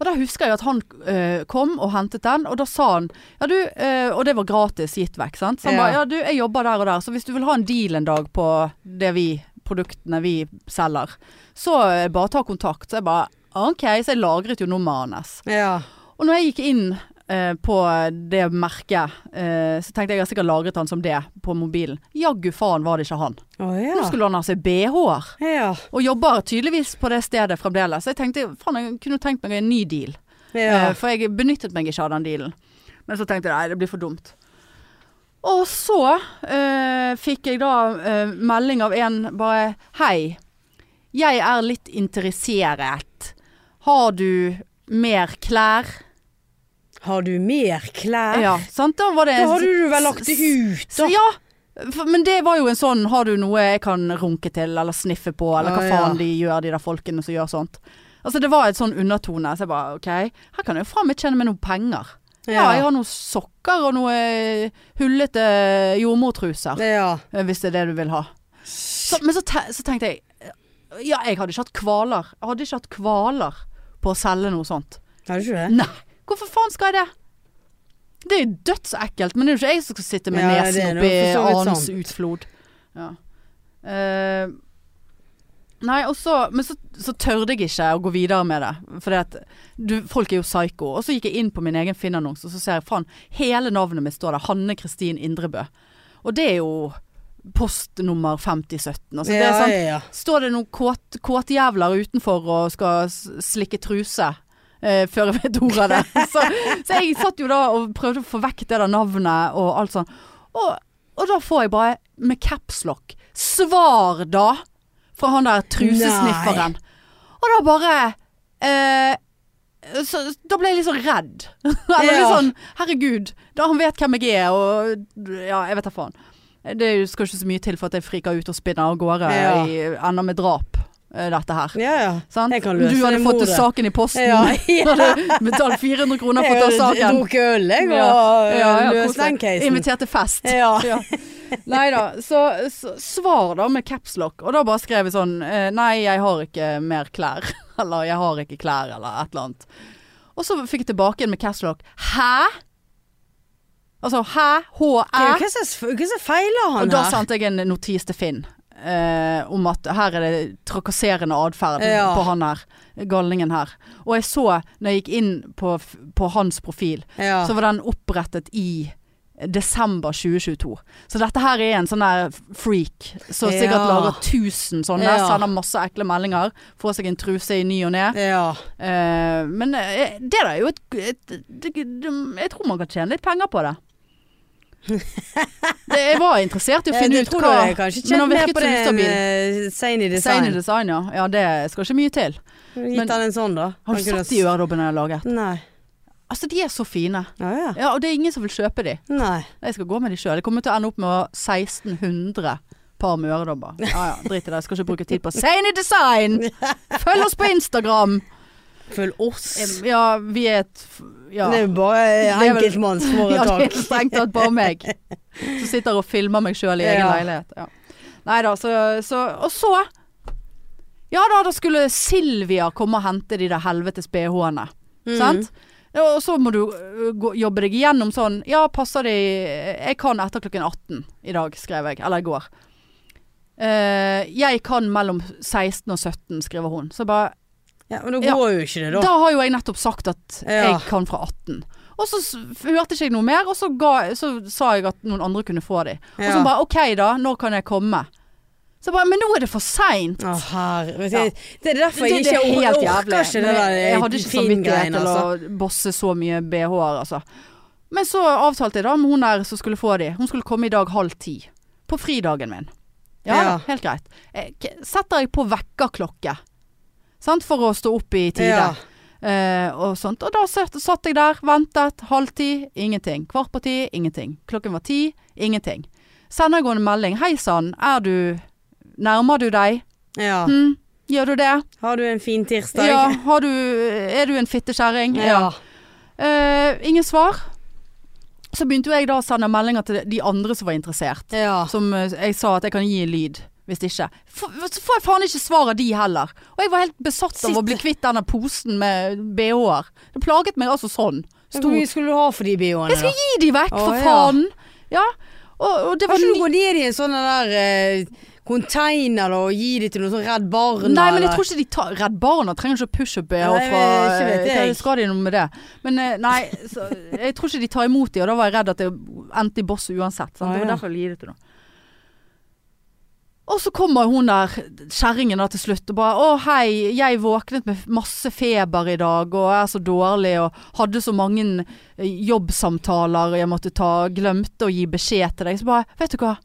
Speaker 1: Og da husker jeg at han eh, kom og hentet den, og da sa han Ja, du eh, Og det var gratis gitt vekk, sant. Så han
Speaker 2: Ja.
Speaker 1: bare Ja, du, jeg jobber der og der, så hvis du vil ha en deal en dag på det vi Produktene vi selger, så eh, bare ta kontakt. Så jeg bare OK, så jeg lagret jo nummeret hans.
Speaker 2: ja.
Speaker 1: Og når jeg gikk inn eh, på det merket, eh, så tenkte jeg jeg har sikkert lagret han som det på mobilen. Jaggu faen var det ikke han.
Speaker 2: Å
Speaker 1: Nå
Speaker 2: ja.
Speaker 1: skulle han ha seg BH-er.
Speaker 2: Ja.
Speaker 1: Og jobber tydeligvis på det stedet fremdeles. Så jeg tenkte faen, jeg kunne tenkt meg en ny deal.
Speaker 2: ja.
Speaker 1: Eh, For jeg benyttet meg ikke av den dealen. Men så tenkte jeg nei, det blir for dumt. Og så eh, fikk jeg da eh, melding av en bare Hei, jeg er litt interesseret. Har du mer klær?
Speaker 2: Har du mer klær?
Speaker 1: Ja, sant? Da var det
Speaker 2: Da har du jo vel lagt det ut,
Speaker 1: Så,
Speaker 2: da.
Speaker 1: ja, for, men det var jo en sånn Har du noe jeg kan runke til, eller sniffe på, eller hva
Speaker 2: Ja, ja.
Speaker 1: faen de gjør, de der folkene som gjør sånt. Altså Det var et sånn undertone. Så jeg bare OK, her kan jeg jo faen meg tjene meg noen penger. Ja.
Speaker 2: Ja.
Speaker 1: jeg har noen sokker og noe hullete jordmortruser,
Speaker 2: Ja.
Speaker 1: eh, hvis det er det du vil ha. Så, men så, te så tenkte jeg Ja, jeg hadde ikke hatt kvaler. Jeg hadde ikke hatt kvaler på å selge noe sånt.
Speaker 2: Har du ikke det?
Speaker 1: Nei, hvorfor faen skal jeg det? Det er jo dødsekkelt, men det er jo ikke jeg som skal sitte med
Speaker 2: Ja, det er
Speaker 1: nesen
Speaker 2: noe for så
Speaker 1: oppi
Speaker 2: vidt
Speaker 1: annens
Speaker 2: sant.
Speaker 1: utflod. Ja. Eh, nei, og så Men så, så tørde jeg ikke å gå videre med det. For at du, folk er jo psyko. Og så gikk jeg inn på min egen Finn-annonse, og så ser jeg faen, hele navnet mitt står der. Hanne Kristin Indrebø. Og det er jo postnummer 5017. Altså, det
Speaker 2: ja,
Speaker 1: er sånn
Speaker 2: ja, ja.
Speaker 1: Står det noen kåt- kåtjævler utenfor og skal s- slikke truse eh, før jeg vet ordet av det. Så, så jeg satt jo da og prøvde å få vekk det der navnet og alt sånn. Og, og da får jeg bare med capslock 'svar da' fra han der trusesnifferen. Og da bare eh, så, Da ble jeg litt sånn redd. Eller litt
Speaker 2: Ja.
Speaker 1: sånn herregud, da han vet hvem jeg er og Ja, jeg vet da faen. Det er jo- skal ikke så mye til for at jeg friker ut og spinner av gårde.
Speaker 2: Ja.
Speaker 1: i- Ender med drap, eh, dette her.
Speaker 2: Ja, ja.
Speaker 1: Sant?
Speaker 2: Jeg kan løse
Speaker 1: du hadde
Speaker 2: det
Speaker 1: fått
Speaker 2: mordet.
Speaker 1: saken i posten.
Speaker 2: Ja,
Speaker 1: Du hadde betalt 400 kroner for å ta
Speaker 2: Jeg har
Speaker 1: saken.
Speaker 2: drukket øl, jeg, og
Speaker 1: Ja, ja, ja,
Speaker 2: løst
Speaker 1: koselig.
Speaker 2: den casen.
Speaker 1: Invitert til fest.
Speaker 2: Ja.
Speaker 1: Nei da. Så, så svar da med capslock. Og da bare skrev jeg sånn eh, Nei, jeg har ikke mer klær. Eller jeg har ikke klær, eller et eller annet. Og så fikk jeg tilbake en med capslock. Hæ? Altså hæ? H-æ?
Speaker 2: Hva som hva som feiler
Speaker 1: Og
Speaker 2: han
Speaker 1: da
Speaker 2: her?
Speaker 1: sendte jeg en notis til Finn eh, om at her er det trakasserende atferd
Speaker 2: Ja.
Speaker 1: på han her, galningen her. Og jeg så, når jeg gikk inn på, f- på hans profil,
Speaker 2: Ja.
Speaker 1: så var den opprettet i desember 2022. Så dette her er en sånn der freak som
Speaker 2: Ja.
Speaker 1: sikkert lager tusen sånne.
Speaker 2: Ja.
Speaker 1: Sender masse ekle meldinger. Får seg en truse i ny og ne.
Speaker 2: ja.
Speaker 1: Eh, men eh, det der er jo et, et, det- det- Jeg tror man kan tjene litt penger på det. det jeg var interessert i å
Speaker 2: Ja,
Speaker 1: finne
Speaker 2: det
Speaker 1: ut
Speaker 2: tror jeg
Speaker 1: hva
Speaker 2: kanskje
Speaker 1: Men
Speaker 2: kjent
Speaker 1: han
Speaker 2: mer
Speaker 1: virket
Speaker 2: på
Speaker 1: så
Speaker 2: det enn
Speaker 1: ustabil.
Speaker 2: eh, Zany
Speaker 1: Sein i
Speaker 2: Design.
Speaker 1: design, ja. ja. Det skal ikke mye til. Men-
Speaker 2: Gitt han en sånn, da.
Speaker 1: Har du
Speaker 2: Han kunne
Speaker 1: sett de øredobbene jeg har laget?
Speaker 2: Nei.
Speaker 1: Altså, de er så fine.
Speaker 2: Ja, ja.
Speaker 1: Ja, Og det er ingen som vil kjøpe de.
Speaker 2: Nei.
Speaker 1: Jeg skal gå med de sjøl. Jeg kommer til å ende opp med å ha 1600 par med øredobber. Ja ja, drit i det. Jeg skal ikke bruke tid på Sein i design! Følg oss på Instagram!
Speaker 2: Følg oss.
Speaker 1: Ja, vi er et f- Ja.
Speaker 2: Det er jo bare
Speaker 1: Det er vel- Ja, det
Speaker 2: enkeltmannsforetak.
Speaker 1: er strengt tatt bare meg som sitter og filmer meg sjøl i egen
Speaker 2: Ja.
Speaker 1: leilighet. Ja. Nei da, så, så Og så Ja da, da skulle Silvia komme og hente de der helvetes bh-ene.
Speaker 2: Mhm.
Speaker 1: Sant? Ja, Og så må du ø, gå, jobbe deg igjennom sånn Ja, passer de Jeg kan etter klokken 18 i dag, skrev jeg. Eller i går. Eh, jeg kan mellom 16 og 17, skriver hun. Så bare
Speaker 2: Mm. Ja, men da
Speaker 1: Ja.
Speaker 2: går jo ikke det,
Speaker 1: da
Speaker 2: da.
Speaker 1: har jo jeg nettopp sagt at
Speaker 2: Ja.
Speaker 1: jeg kan fra 18. Og Og så s- hørte ikke jeg noe mer, og så, ga, så sa jeg at noen andre kunne få de. Og så
Speaker 2: Ja.
Speaker 1: bare OK, da. Når kan jeg komme? Så jeg bare Men nå er det for seint.
Speaker 2: Å, herre vet du,
Speaker 1: Ja.
Speaker 2: Det er derfor jeg
Speaker 1: det
Speaker 2: ikke
Speaker 1: er
Speaker 2: jeg
Speaker 1: helt
Speaker 2: orker ikke
Speaker 1: jævlig.
Speaker 2: det
Speaker 1: Men
Speaker 2: der
Speaker 1: jeg, jeg hadde ikke samvittighet
Speaker 2: Finn-greiene,
Speaker 1: til
Speaker 2: altså.
Speaker 1: å bosse så mye BH-er, altså. Men så avtalte jeg da med hun der som skulle få de. Hun skulle komme i dag halv ti. På fridagen min. Ja,
Speaker 2: Ja.
Speaker 1: helt greit. Eh, k- Setter jeg på vekkerklokke, sant, for å stå opp i tide.
Speaker 2: Ja.
Speaker 1: Eh, og sånt. Og da satt, satt jeg der, ventet, halv ti, ingenting. Kvart på ti, ingenting. Klokken var ti, ingenting. Sender jeg henne en melding. Hei sann, er du Nærmer du deg?
Speaker 2: Ja.
Speaker 1: Hm, gjør du det?
Speaker 2: Har du en fin tirsdag?
Speaker 1: Ja, har du Er du en fittekjerring?
Speaker 2: Ja.
Speaker 1: Eh, ingen svar. Så begynte jo jeg da å sende meldinger til de andre som var interessert.
Speaker 2: Ja.
Speaker 1: Som eh, jeg sa at jeg kan gi lyd hvis ikke. F- Så får jeg faen ikke svar av de heller. Og jeg var helt besatt av å
Speaker 2: Sitt-
Speaker 1: bli kvitt denne posen med bh-er. Det plaget meg altså sånn.
Speaker 2: Hvor
Speaker 1: Stor.
Speaker 2: mye skulle du ha for de bioene?
Speaker 1: Jeg skal gi de vekk,
Speaker 2: Å,
Speaker 1: for
Speaker 2: ja.
Speaker 1: faen! Ja. Og, og det
Speaker 2: Kan
Speaker 1: var
Speaker 2: ikke
Speaker 1: ni-
Speaker 2: du gå ned i en sånn der eh, container da, og gi det til noen sånn Redd Barna?
Speaker 1: Nei, men jeg
Speaker 2: eller-
Speaker 1: tror ikke de tar Redd Barna trenger ikke push-up-BH
Speaker 2: Nei,
Speaker 1: fra eh,
Speaker 2: ikke vet
Speaker 1: Hva
Speaker 2: jeg.
Speaker 1: skal de noe med det? Men eh, nei, så, jeg tror ikke de tar imot de, og da var jeg redd at det endte i boss uansett. Sant?
Speaker 2: Ah,
Speaker 1: Det var
Speaker 2: ja.
Speaker 1: derfor jeg ville gi det til noen. Og så kommer hun der kjerringen da til slutt og bare 'Å, hei, jeg våknet med masse feber i dag og er så dårlig' 'og hadde så mange eh, jobbsamtaler jeg måtte ta, glemte å gi beskjed til deg'. Så bare 'Vet du hva,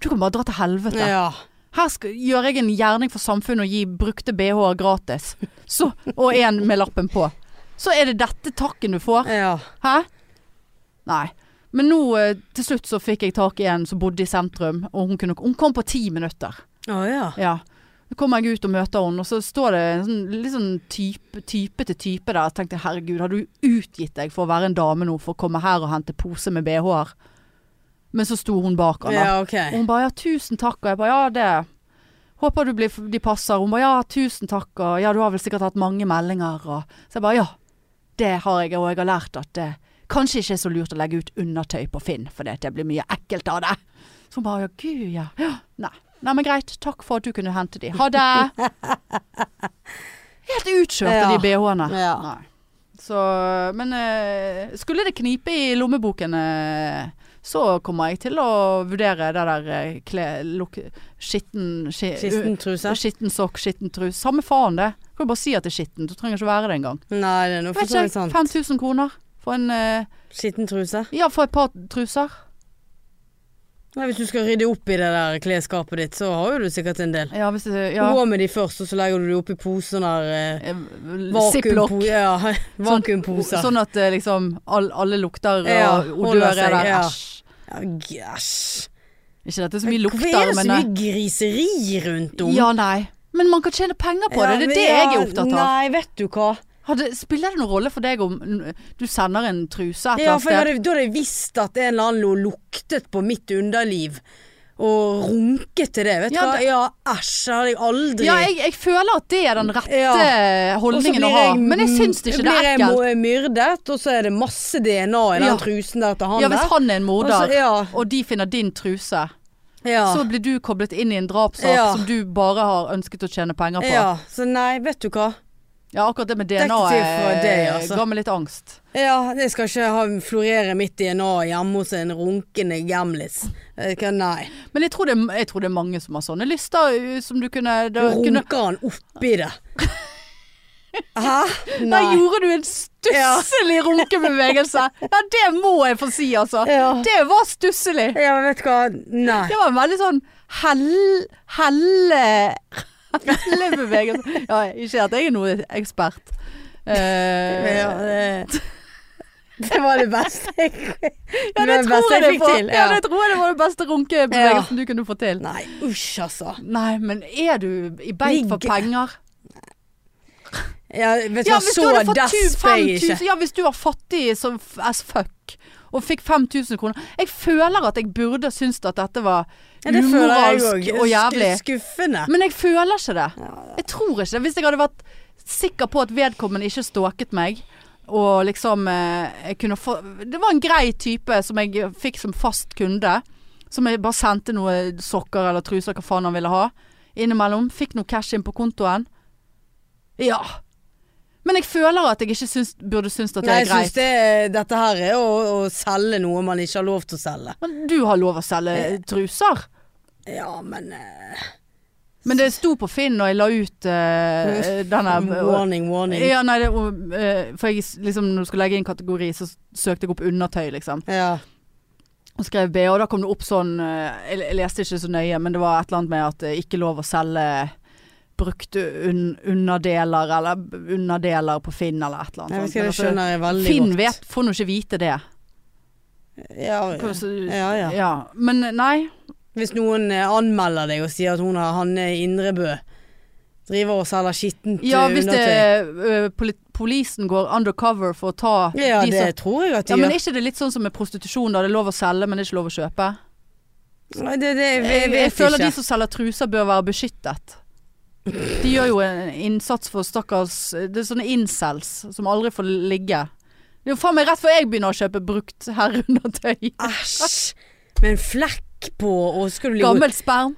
Speaker 1: du kan bare dra til helvete'.
Speaker 2: Ja.
Speaker 1: Her skal, gjør jeg en gjerning for samfunnet og gir brukte BH-er gratis. Så, og en med lappen på. Så er det dette takken du får.
Speaker 2: ja.
Speaker 1: Hæ? Nei. Men nå eh, til slutt så fikk jeg tak i en som bodde i sentrum, og hun, kunne, hun kom på ti minutter.
Speaker 2: Å ja.
Speaker 1: Ja. Så kommer jeg ut og møter henne, og så står det en sånn, litt sånn type, type til type der. Jeg tenkte herregud, har du utgitt deg for å være en dame nå, for å komme her og hente pose med BH-er? Men så sto hun bak han da.
Speaker 2: Ja, ok.
Speaker 1: Og hun bare ja, tusen takk. Og jeg bare ja, det Håper du blir, de passer. Hun bare ja, tusen takk. Og ja, du har vel sikkert hatt mange meldinger. Og så jeg bare ja, det har jeg. Og jeg har lært at det kanskje ikke er så lurt å legge ut undertøy på Finn, for det det blir mye ekkelt av det. Så hun bare ja, gud ja. ja. Nei. Nei, men greit. Takk for at du kunne hente de. Ha det. Helt utkjørte
Speaker 2: Ja.
Speaker 1: de bh-ene.
Speaker 2: Ja.
Speaker 1: Nei. Så Men eh, skulle det knipe i lommeboken, eh, så kommer jeg til å vurdere det der eh, kle... Luk, skitten ski,
Speaker 2: Skitten truse?
Speaker 1: ø- skitten sokk, skitten trus. Samme faen det. Du kan bare si at det er skitten. Du trenger ikke være det engang.
Speaker 2: Nei, det er noe for
Speaker 1: Vet
Speaker 2: så
Speaker 1: ikke,
Speaker 2: vidt sant.
Speaker 1: 5000 kroner for en eh,
Speaker 2: Skitten truse?
Speaker 1: Ja, for et par truser.
Speaker 2: Nei, hvis du skal rydde opp i det der klesskapet ditt, så har jo du sikkert en del.
Speaker 1: Ja, hvis det
Speaker 2: Du
Speaker 1: Ja.
Speaker 2: Gå med de først, og så legger du de oppi poser der eh,
Speaker 1: Eh, Ziplock.
Speaker 2: vakuumpo- ja, Vakuumposer.
Speaker 1: Sånn at eh, liksom all, alle lukter og
Speaker 2: Ja, holder
Speaker 1: odører
Speaker 2: seg,
Speaker 1: der.
Speaker 2: ja.
Speaker 1: Æsj.
Speaker 2: Ja, gæsj.
Speaker 1: Ikke dette så mye
Speaker 2: Hvorfor er
Speaker 1: lukter,
Speaker 2: det så
Speaker 1: men eh,
Speaker 2: mye griseri rundt om?
Speaker 1: Ja, nei. Men man kan tjene penger på det. Det er
Speaker 2: men
Speaker 1: det
Speaker 2: ja,
Speaker 1: jeg er opptatt av.
Speaker 2: Nei, vet du hva.
Speaker 1: Hadde, spiller det noen rolle for deg om n- du sender en truse et
Speaker 2: Ja, for jeg
Speaker 1: eller annet sted?
Speaker 2: hadde, da hadde jeg visst at en eller annen lå luktet på mitt underliv. Og runket til det. Vet du
Speaker 1: Ja,
Speaker 2: hva.
Speaker 1: det-
Speaker 2: Ja, æsj. Det hadde jeg aldri
Speaker 1: Ja, jeg, jeg føler at det er den rette
Speaker 2: Og så
Speaker 1: holdningen å
Speaker 2: blir
Speaker 1: ha.
Speaker 2: jeg-
Speaker 1: Men jeg syns det ikke det er
Speaker 2: Blir
Speaker 1: ekkelt.
Speaker 2: jeg mo- myrdet, og så er det masse DNA i den
Speaker 1: Ja.
Speaker 2: trusen der til han
Speaker 1: Ja, hvis
Speaker 2: der.
Speaker 1: han er en morder,
Speaker 2: Og så- ja.
Speaker 1: og de finner din truse,
Speaker 2: Ja.
Speaker 1: så blir du koblet inn i en drapssak
Speaker 2: Ja.
Speaker 1: som du bare har ønsket å tjene penger på. Ja,
Speaker 2: ja. Så nei, vet du hva.
Speaker 1: akkurat det med
Speaker 2: er ikke
Speaker 1: DNA
Speaker 2: til for deg,
Speaker 1: eh,
Speaker 2: altså.
Speaker 1: ga meg litt angst.
Speaker 2: Ja, jeg skal ikke ha florere mitt DNA hjemme hos en runkende gamlis. Eh, hva- Nei.
Speaker 1: Men jeg tror, det, er- jeg tror det er mange som har sånne lister uh, som du kunne,
Speaker 2: Du
Speaker 1: da, kunne
Speaker 2: runker han oppi det. Hæ?
Speaker 1: Der gjorde du en stusslig runkebevegelse. Ja, det må jeg få si, altså.
Speaker 2: Ja.
Speaker 1: Det var stusslig.
Speaker 2: Ja, men vet du hva. Nei.
Speaker 1: Det var en veldig sånn hell... helle... hellebevegelse. Ja, ikke at jeg er noen ekspert. Eh,
Speaker 2: Ja, det, det var det beste jeg
Speaker 1: ja, det,
Speaker 2: var det
Speaker 1: tror
Speaker 2: beste
Speaker 1: jeg det,
Speaker 2: jeg fikk
Speaker 1: var.
Speaker 2: til.
Speaker 1: Ja,
Speaker 2: Ja.
Speaker 1: det tror jeg det var den beste runkebevegelsen du kunne få til.
Speaker 2: Nei, usj, altså.
Speaker 1: Nei, men er du i beit for
Speaker 2: Ligge.
Speaker 1: penger?
Speaker 2: Ja, vet du
Speaker 1: Ja,
Speaker 2: hva,
Speaker 1: hvis du
Speaker 2: så
Speaker 1: hadde fått
Speaker 2: desp er jeg
Speaker 1: 5000
Speaker 2: ikke.
Speaker 1: Ja, hvis du var fattig som f- as fuck og fikk 5000 kroner Jeg føler at jeg burde synes at dette var
Speaker 2: Ja, det føler jeg
Speaker 1: umoralsk
Speaker 2: òg.
Speaker 1: og jævlig. Mm.
Speaker 2: Skuffende.
Speaker 1: Men jeg føler ikke det. Jeg tror ikke det. Hvis jeg hadde vært sikker på at vedkommende ikke stalket meg, og liksom eh, jeg kunne få Det var en grei type som jeg fikk som fast kunde. Som jeg bare sendte noe sokker eller truser, hva faen han ville ha. Innimellom. Fikk noe cash inn på kontoen. Ja. Men jeg føler at jeg ikke syns, burde synes at det
Speaker 2: Nei,
Speaker 1: er
Speaker 2: jeg syns
Speaker 1: greit.
Speaker 2: det, dette her er å, å selge noe man ikke har lov til å selge.
Speaker 1: Men du har lov å
Speaker 2: Eh,
Speaker 1: selge truser.
Speaker 2: Ja, men eh,
Speaker 1: Men det sto på Finn når jeg la ut eh, denne
Speaker 2: Warning, warning.
Speaker 1: ja, nei, det, eh, For jeg, s- liksom, når du skal legge inn kategori, så s- søkte jeg opp undertøy, liksom.
Speaker 2: Ja.
Speaker 1: Og skrev BH, og da kom det opp sånn eh, Jeg, jeg leste ikke så nøye, men det var et eller annet med at det ikke er lov å selge brukte un underdeler eller b- underdeler på Finn eller et eller
Speaker 2: Jeg
Speaker 1: annet.
Speaker 2: vet ikke, det
Speaker 1: sånt. Men altså,
Speaker 2: skjønner jeg veldig
Speaker 1: Finn
Speaker 2: godt.
Speaker 1: vet, får nå ikke vite det.
Speaker 2: Ja,
Speaker 1: Hva så-
Speaker 2: ja, ja.
Speaker 1: ja. Men eh, nei.
Speaker 2: Hvis noen eh, anmelder deg og sier at hun har Hanne Indrebø driver og selger skittent
Speaker 1: Ja,
Speaker 2: eh,
Speaker 1: hvis det,
Speaker 2: undertøy.
Speaker 1: eh, poli polisen går undercover for å ta
Speaker 2: Ja,
Speaker 1: de
Speaker 2: det
Speaker 1: som
Speaker 2: tror jeg at
Speaker 1: Ja,
Speaker 2: de
Speaker 1: men
Speaker 2: gjør.
Speaker 1: er ikke det litt sånn som med prostitusjon, da? Det er lov å selge, men det er ikke lov å kjøpe.
Speaker 2: Nei, det, det, jeg,
Speaker 1: Jeg,
Speaker 2: vet
Speaker 1: jeg føler
Speaker 2: ikke.
Speaker 1: de som selger truser bør være beskyttet. De gjør jo en innsats for stakkars Det er sånne incels som aldri får ligge. Det er jo faen meg rett før jeg begynner å kjøpe brukt herreundertøy.
Speaker 2: Æsj! Med en flekk på, og skal du ligge
Speaker 1: Gammelt sperm.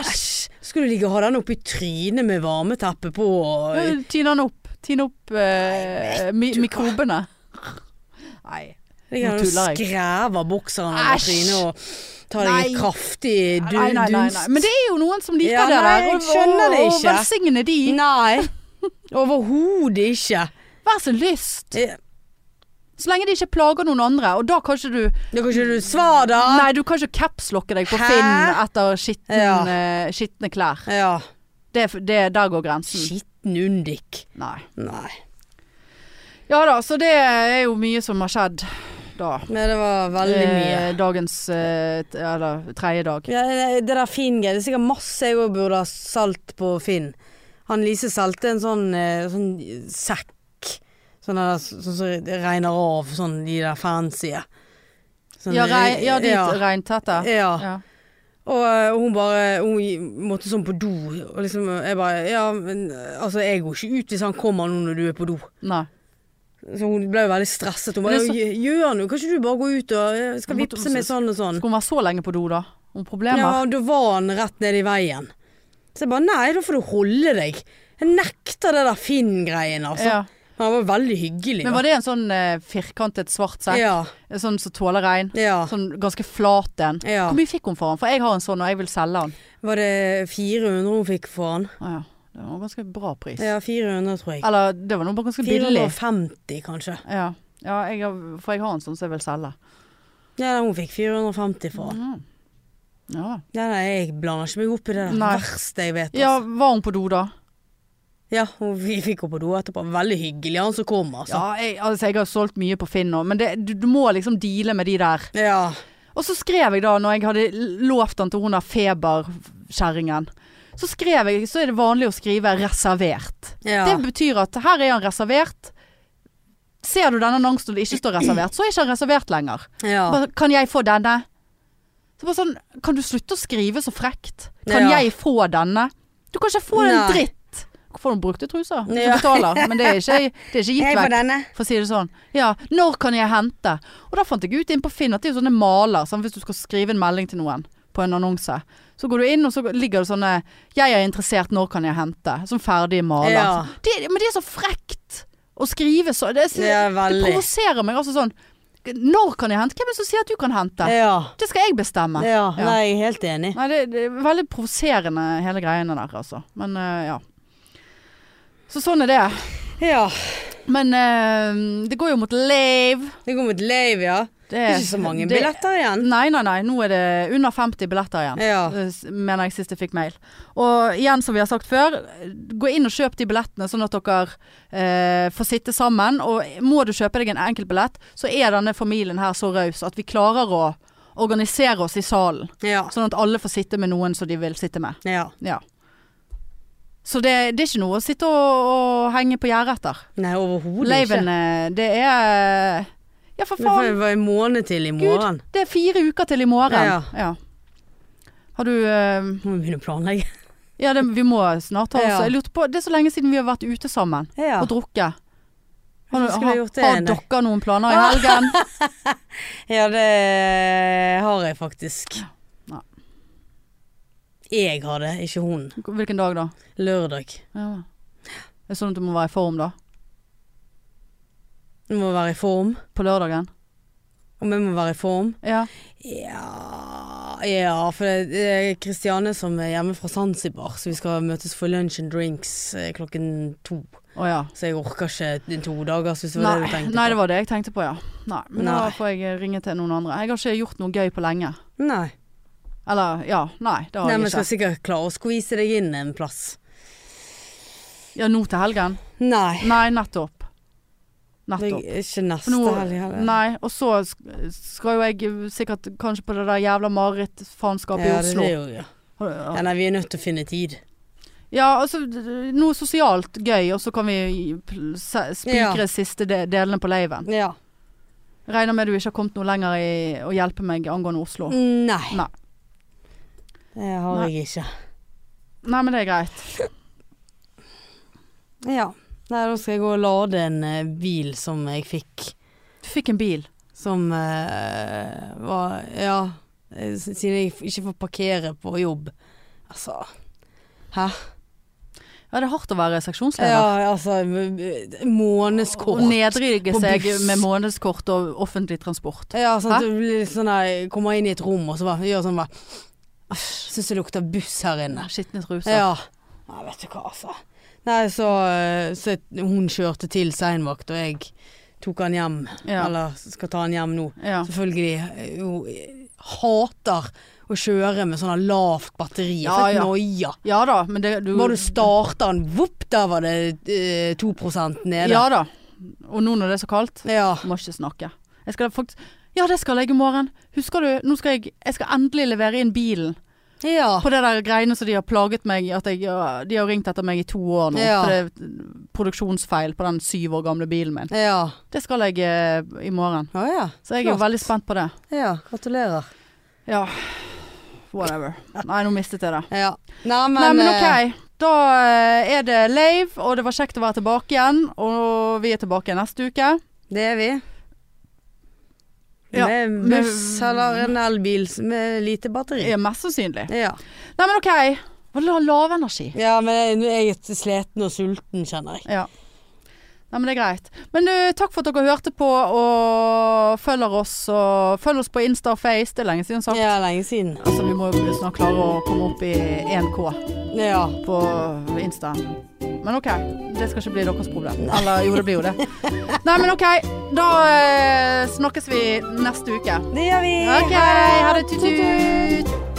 Speaker 2: Æsj! Skal du ligge og ha den oppi trynet med varmeteppe på? og-
Speaker 1: Ja, Tine den opp. Tine opp eh, mi mikrobene. Nei.
Speaker 2: Ligger
Speaker 1: Nå
Speaker 2: han og
Speaker 1: tuller jeg.
Speaker 2: skræver bokseren over
Speaker 1: Æsj!
Speaker 2: trynet og tar deg en
Speaker 1: Nei.
Speaker 2: kraftig du
Speaker 1: Nei, nei, nei, nei.
Speaker 2: dunst?
Speaker 1: Men det er jo noen som liker
Speaker 2: Ja,
Speaker 1: det
Speaker 2: nei,
Speaker 1: der.
Speaker 2: jeg
Speaker 1: og-
Speaker 2: skjønner det
Speaker 1: Og, og
Speaker 2: ikke.
Speaker 1: velsigne de.
Speaker 2: Nei. Overhodet ikke.
Speaker 1: Vær så lyst.
Speaker 2: Eh,
Speaker 1: Så lenge de ikke plager noen andre. Og da kan ikke du
Speaker 2: Da kan ikke du svare, da.
Speaker 1: Nei, du kan ikke capslokke deg på
Speaker 2: Ah. Hæ?
Speaker 1: Finn etter skitten,
Speaker 2: Ja.
Speaker 1: eh, skitne klær.
Speaker 2: Ja.
Speaker 1: Det, er f- det, der går grensen.
Speaker 2: Skitten undik.
Speaker 1: Nei.
Speaker 2: Nei.
Speaker 1: Ja da, så det er jo mye som har skjedd da.
Speaker 2: Men det var veldig mye.
Speaker 1: Eh, dagens eh, t- eller tredje dag.
Speaker 2: Ja, det- det der Finn-greiet. Det er sikkert masse jeg òg burde ha solgt på Finn. Han Lise solgte en sånn, eh, sånn sekk. Sånn der- sånn som regner av, sånn de der fancy. Sånn-
Speaker 1: Ja, rei, ja dit
Speaker 2: ja.
Speaker 1: regntette.
Speaker 2: Ja.
Speaker 1: Ja.
Speaker 2: Og eh, hun bare Hun måtte sånn på do, og liksom Jeg bare Ja, men eh, altså, jeg går ikke ut hvis han kommer nå når du er på do.
Speaker 1: Nei.
Speaker 2: Så hun ble jo veldig stresset. Hun
Speaker 1: Men
Speaker 2: bare
Speaker 1: det er så-
Speaker 2: «Ja, Gjør nå, kan ikke du bare gå ut og eh, Skal
Speaker 1: Hun måtte-
Speaker 2: vippse meg sånn og sånn.
Speaker 1: Skal hun være så lenge på do, da? Om
Speaker 2: Ja,
Speaker 1: problemer?
Speaker 2: og da var han rett nede i veien. Så jeg bare Nei, da får du holde deg. Jeg nekter det der Finn-greien, altså.
Speaker 1: Ja.
Speaker 2: Men han var veldig hyggelig.
Speaker 1: Men var det en sånn eh, firkantet svart sekk?
Speaker 2: Ja.
Speaker 1: Sånn som tåler regn?
Speaker 2: ja.
Speaker 1: Sånn ganske flat en?
Speaker 2: Ja.
Speaker 1: Hvor mye fikk hun for den? For jeg har en sånn, og jeg vil selge den.
Speaker 2: Var det 400 hun fikk for han?
Speaker 1: Å ja. Det var en ganske bra pris.
Speaker 2: Ja, 400, tror jeg.
Speaker 1: Eller det var noe bare ganske billig.
Speaker 2: 450, kanskje.
Speaker 1: Ja, ja jeg har, for jeg har en sånn som jeg vil selge.
Speaker 2: Ja, hun fikk 450 for han.
Speaker 1: Ja.
Speaker 2: Ja, nei, jeg blander ikke meg opp i det der.
Speaker 1: Nei.
Speaker 2: verste jeg vet.
Speaker 1: ja,
Speaker 2: Altså.
Speaker 1: var hun på do da?
Speaker 2: Ja, og vi fikk henne på do etterpå. Veldig hyggelig han som kom, altså.
Speaker 1: Ja, jeg, altså jeg har solgt mye på Finn nå, men det, du, du må liksom deale med de der.
Speaker 2: Ja.
Speaker 1: Og så skrev jeg da, når jeg hadde lovt han til hun der feberkjerringen, så skrev jeg, så er det vanlig å skrive 'reservert'.
Speaker 2: Ja.
Speaker 1: Det betyr at her er han reservert. Ser du denne annonsen og det ikke står reservert, så er ikke han reservert lenger.
Speaker 2: ja.
Speaker 1: Bare, kan jeg få denne? Så bare sånn, kan du slutte å skrive så frekt? Kan
Speaker 2: Ja.
Speaker 1: jeg få denne? Du kan ikke få en
Speaker 2: Nei.
Speaker 1: dritt. Hvorfor har du brukte truser? Hvis
Speaker 2: Ja.
Speaker 1: du betaler. Men det er ikke, det er ikke
Speaker 2: Jeg
Speaker 1: gitt
Speaker 2: får
Speaker 1: vekk.
Speaker 2: denne.
Speaker 1: For å si det sånn. Ja, når kan jeg hente? Og da fant jeg ut inn på Finn at det er jo sånne maler. Sånn, hvis du skal skrive en melding til noen på en annonse. Så går du inn, og så ligger det sånne 'Jeg er interessert, når kan jeg hente?' Sånn ferdige maler.
Speaker 2: Ja.
Speaker 1: Sånn. Det, men det er så frekt å skrive så. Det, er,
Speaker 2: Ja,
Speaker 1: det
Speaker 2: veldig.
Speaker 1: provoserer meg altså sånn. Når kan jeg hente? Hvem er det som sier at du kan hente?
Speaker 2: Ja.
Speaker 1: Det skal jeg bestemme.
Speaker 2: ja.
Speaker 1: Ja.
Speaker 2: Nei, jeg er helt enig.
Speaker 1: Nei, det, det er veldig provoserende hele greiene der, altså. Men eh, ja. Så sånn er det.
Speaker 2: Ja.
Speaker 1: Men eh, det går jo mot lave.
Speaker 2: Det går mot Leiv, ja. Det er ikke så mange
Speaker 1: Eh, det-
Speaker 2: billetter igjen.
Speaker 1: Nei, nei, nei. Nå er det under 50 billetter igjen.
Speaker 2: Ja.
Speaker 1: Eh, s- Mener jeg sist jeg fikk mail. Og igjen, som vi har sagt før, gå inn og kjøp de billettene, sånn at dere eh, får sitte sammen. Og må du kjøpe deg en enkeltbillett, så er denne familien her så raus at vi klarer å organisere oss i salen.
Speaker 2: Ja.
Speaker 1: Sånn at alle får sitte med noen som de vil sitte med.
Speaker 2: ja.
Speaker 1: Ja. Så det, det er ikke noe å sitte og, og henge på gjerdet etter.
Speaker 2: Nei, overhodet ikke.
Speaker 1: Laven, eh, det er Ja, for
Speaker 2: Det får
Speaker 1: faen.
Speaker 2: vi en måned til i morgen.
Speaker 1: Det er fire uker til i morgen.
Speaker 2: Ja,
Speaker 1: Ja. Har du eh,
Speaker 2: Må vi begynne å planlegge.
Speaker 1: Ja, det, vi må snart ha oss
Speaker 2: Ja.
Speaker 1: Jeg lurte på Det er så lenge siden vi har vært ute sammen
Speaker 2: Ja.
Speaker 1: og drukket. Har,
Speaker 2: Skulle
Speaker 1: har,
Speaker 2: vi gjort det,
Speaker 1: har
Speaker 2: nei?
Speaker 1: dere noen planer i helgen?
Speaker 2: Ja, det har jeg faktisk.
Speaker 1: Ja.
Speaker 2: Jeg har det, ikke hun.
Speaker 1: Hvilken dag da?
Speaker 2: Lørdag.
Speaker 1: Ja. Det er sånn at du må være i form da?
Speaker 2: Du må være i form.
Speaker 1: på lørdagen.
Speaker 2: Og vi må være i form.
Speaker 1: Ja.
Speaker 2: Ja, ja for det det er Kristiane som er hjemme fra Zanzibar, så vi skal møtes for lunch and drinks eh, klokken to.
Speaker 1: Å ja.
Speaker 2: Så jeg orker ikke to dager, hvis det var det
Speaker 1: Nei,
Speaker 2: du tenkte
Speaker 1: nei, det
Speaker 2: på.
Speaker 1: var det jeg tenkte på, ja. Nei, men
Speaker 2: Nei.
Speaker 1: da får jeg ringe til noen andre. Jeg har ikke gjort noe gøy på lenge.
Speaker 2: Nei.
Speaker 1: Eller, ja, nei, det har
Speaker 2: nei, men jeg
Speaker 1: jeg
Speaker 2: skal
Speaker 1: ikke.
Speaker 2: sikkert klare å skvise deg inn en plass.
Speaker 1: Ja, nå til helgen?
Speaker 2: Nei.
Speaker 1: Nei, nettopp.
Speaker 2: Det
Speaker 1: Nettopp.
Speaker 2: er ikke
Speaker 1: For
Speaker 2: neste
Speaker 1: nå,
Speaker 2: helg heller.
Speaker 1: nei, og så sk- skal jo jeg sikkert kanskje på det der jævla marerittfaenskapet i
Speaker 2: ja, det
Speaker 1: Oslo.
Speaker 2: er jo, ja.
Speaker 1: Har-
Speaker 2: ja, nei, vi er nødt til å finne tid.
Speaker 1: Ja, altså d- d- noe sosialt gøy, og så kan vi pl- se- spikre siste de delene på leiven.
Speaker 2: Ja.
Speaker 1: Regner med du ikke har kommet noe lenger i å hjelpe meg angående Oslo.
Speaker 2: Mm. Nei.
Speaker 1: Nei.
Speaker 2: Det har
Speaker 1: Nei.
Speaker 2: jeg ikke.
Speaker 1: Nei, men det er greit.
Speaker 2: Ja. Nei, da skal jeg gå og lade en eh, bil som jeg fikk.
Speaker 1: Du fikk en bil.
Speaker 2: Som eh, var Ja, eh, s- siden jeg f- ikke får parkere på jobb. Altså Hæ?
Speaker 1: Ja, det er hardt å være seksjonsleder.
Speaker 2: Ja, altså m- m-
Speaker 1: Og
Speaker 2: Månedskort.
Speaker 1: nedrige
Speaker 2: På
Speaker 1: seg
Speaker 2: buss.
Speaker 1: med månedskort og offentlig transport.
Speaker 2: Ja, sånn
Speaker 1: Hæ?
Speaker 2: at du blir sånn der Kommer inn i et rom og så bare gjør sånn bare Syns det lukter buss her inne.
Speaker 1: Skitne truser.
Speaker 2: Ja. Nei, vet du hva, altså. Nei, så, eh, så hun kjørte til seinvakt, og jeg tok han hjem.
Speaker 1: Ja.
Speaker 2: Eller skal ta han hjem nå.
Speaker 1: Ja.
Speaker 2: Selvfølgelig. eh, Hun eh, hater å kjøre med sånn lavt batteri.
Speaker 1: Ja,
Speaker 2: Ja, ja.
Speaker 1: ja.
Speaker 2: Noia.
Speaker 1: ja da, men det du,
Speaker 2: Bare du starter den, vopp, der var det eh, 2 nede.
Speaker 1: Ja da. Og nå når det er så kaldt,
Speaker 2: Ja.
Speaker 1: må ikke snakke. Jeg skal faktisk Ja, det skal jeg i morgen. Husker du, nå skal jeg Jeg skal endelig levere inn bilen.
Speaker 2: ja.
Speaker 1: På det der greiene som de har plaget meg At jeg, ja, de har ringt etter meg i to år nå
Speaker 2: Ja.
Speaker 1: For det er produksjonsfeil på den syv år gamle bilen min
Speaker 2: Ja.
Speaker 1: Det skal jeg eh, i morgen
Speaker 2: Å ja.
Speaker 1: Så jeg er jo
Speaker 2: Klart.
Speaker 1: veldig spent på det
Speaker 2: Ja, gratulerer.
Speaker 1: Ja, whatever Nei, nå mistet jeg det
Speaker 2: Ja. Nei, men,
Speaker 1: Nei, men
Speaker 2: eh,
Speaker 1: ok Da eh, er det live Og det var kjekt å være tilbake igjen Og vi er tilbake neste uke
Speaker 2: Det er vi.
Speaker 1: Ja,
Speaker 2: Med en
Speaker 1: men-
Speaker 2: buss eller en elbil s- med lite batteri.
Speaker 1: Er mest sannsynlig
Speaker 2: Ja.
Speaker 1: Nei, men ok Var det lav energi?
Speaker 2: ja, men nå er jeg sliten og sulten, kjenner jeg.
Speaker 1: Ja. Nei, men det er greit. Men du, takk for at dere hørte på og følger oss. Og følg oss på Insta og Face. Det er lenge siden sagt.
Speaker 2: Ja, lenge siden.
Speaker 1: Altså, vi må jo snart klare å komme opp i 1K
Speaker 2: Ja.
Speaker 1: på Insta. Men OK, det skal ikke bli deres problem. Eller jo, det blir jo det. Nei, men OK. Da eh, snakkes vi neste uke.
Speaker 2: Det gjør vi.
Speaker 1: OK, ha det. Tut-tut.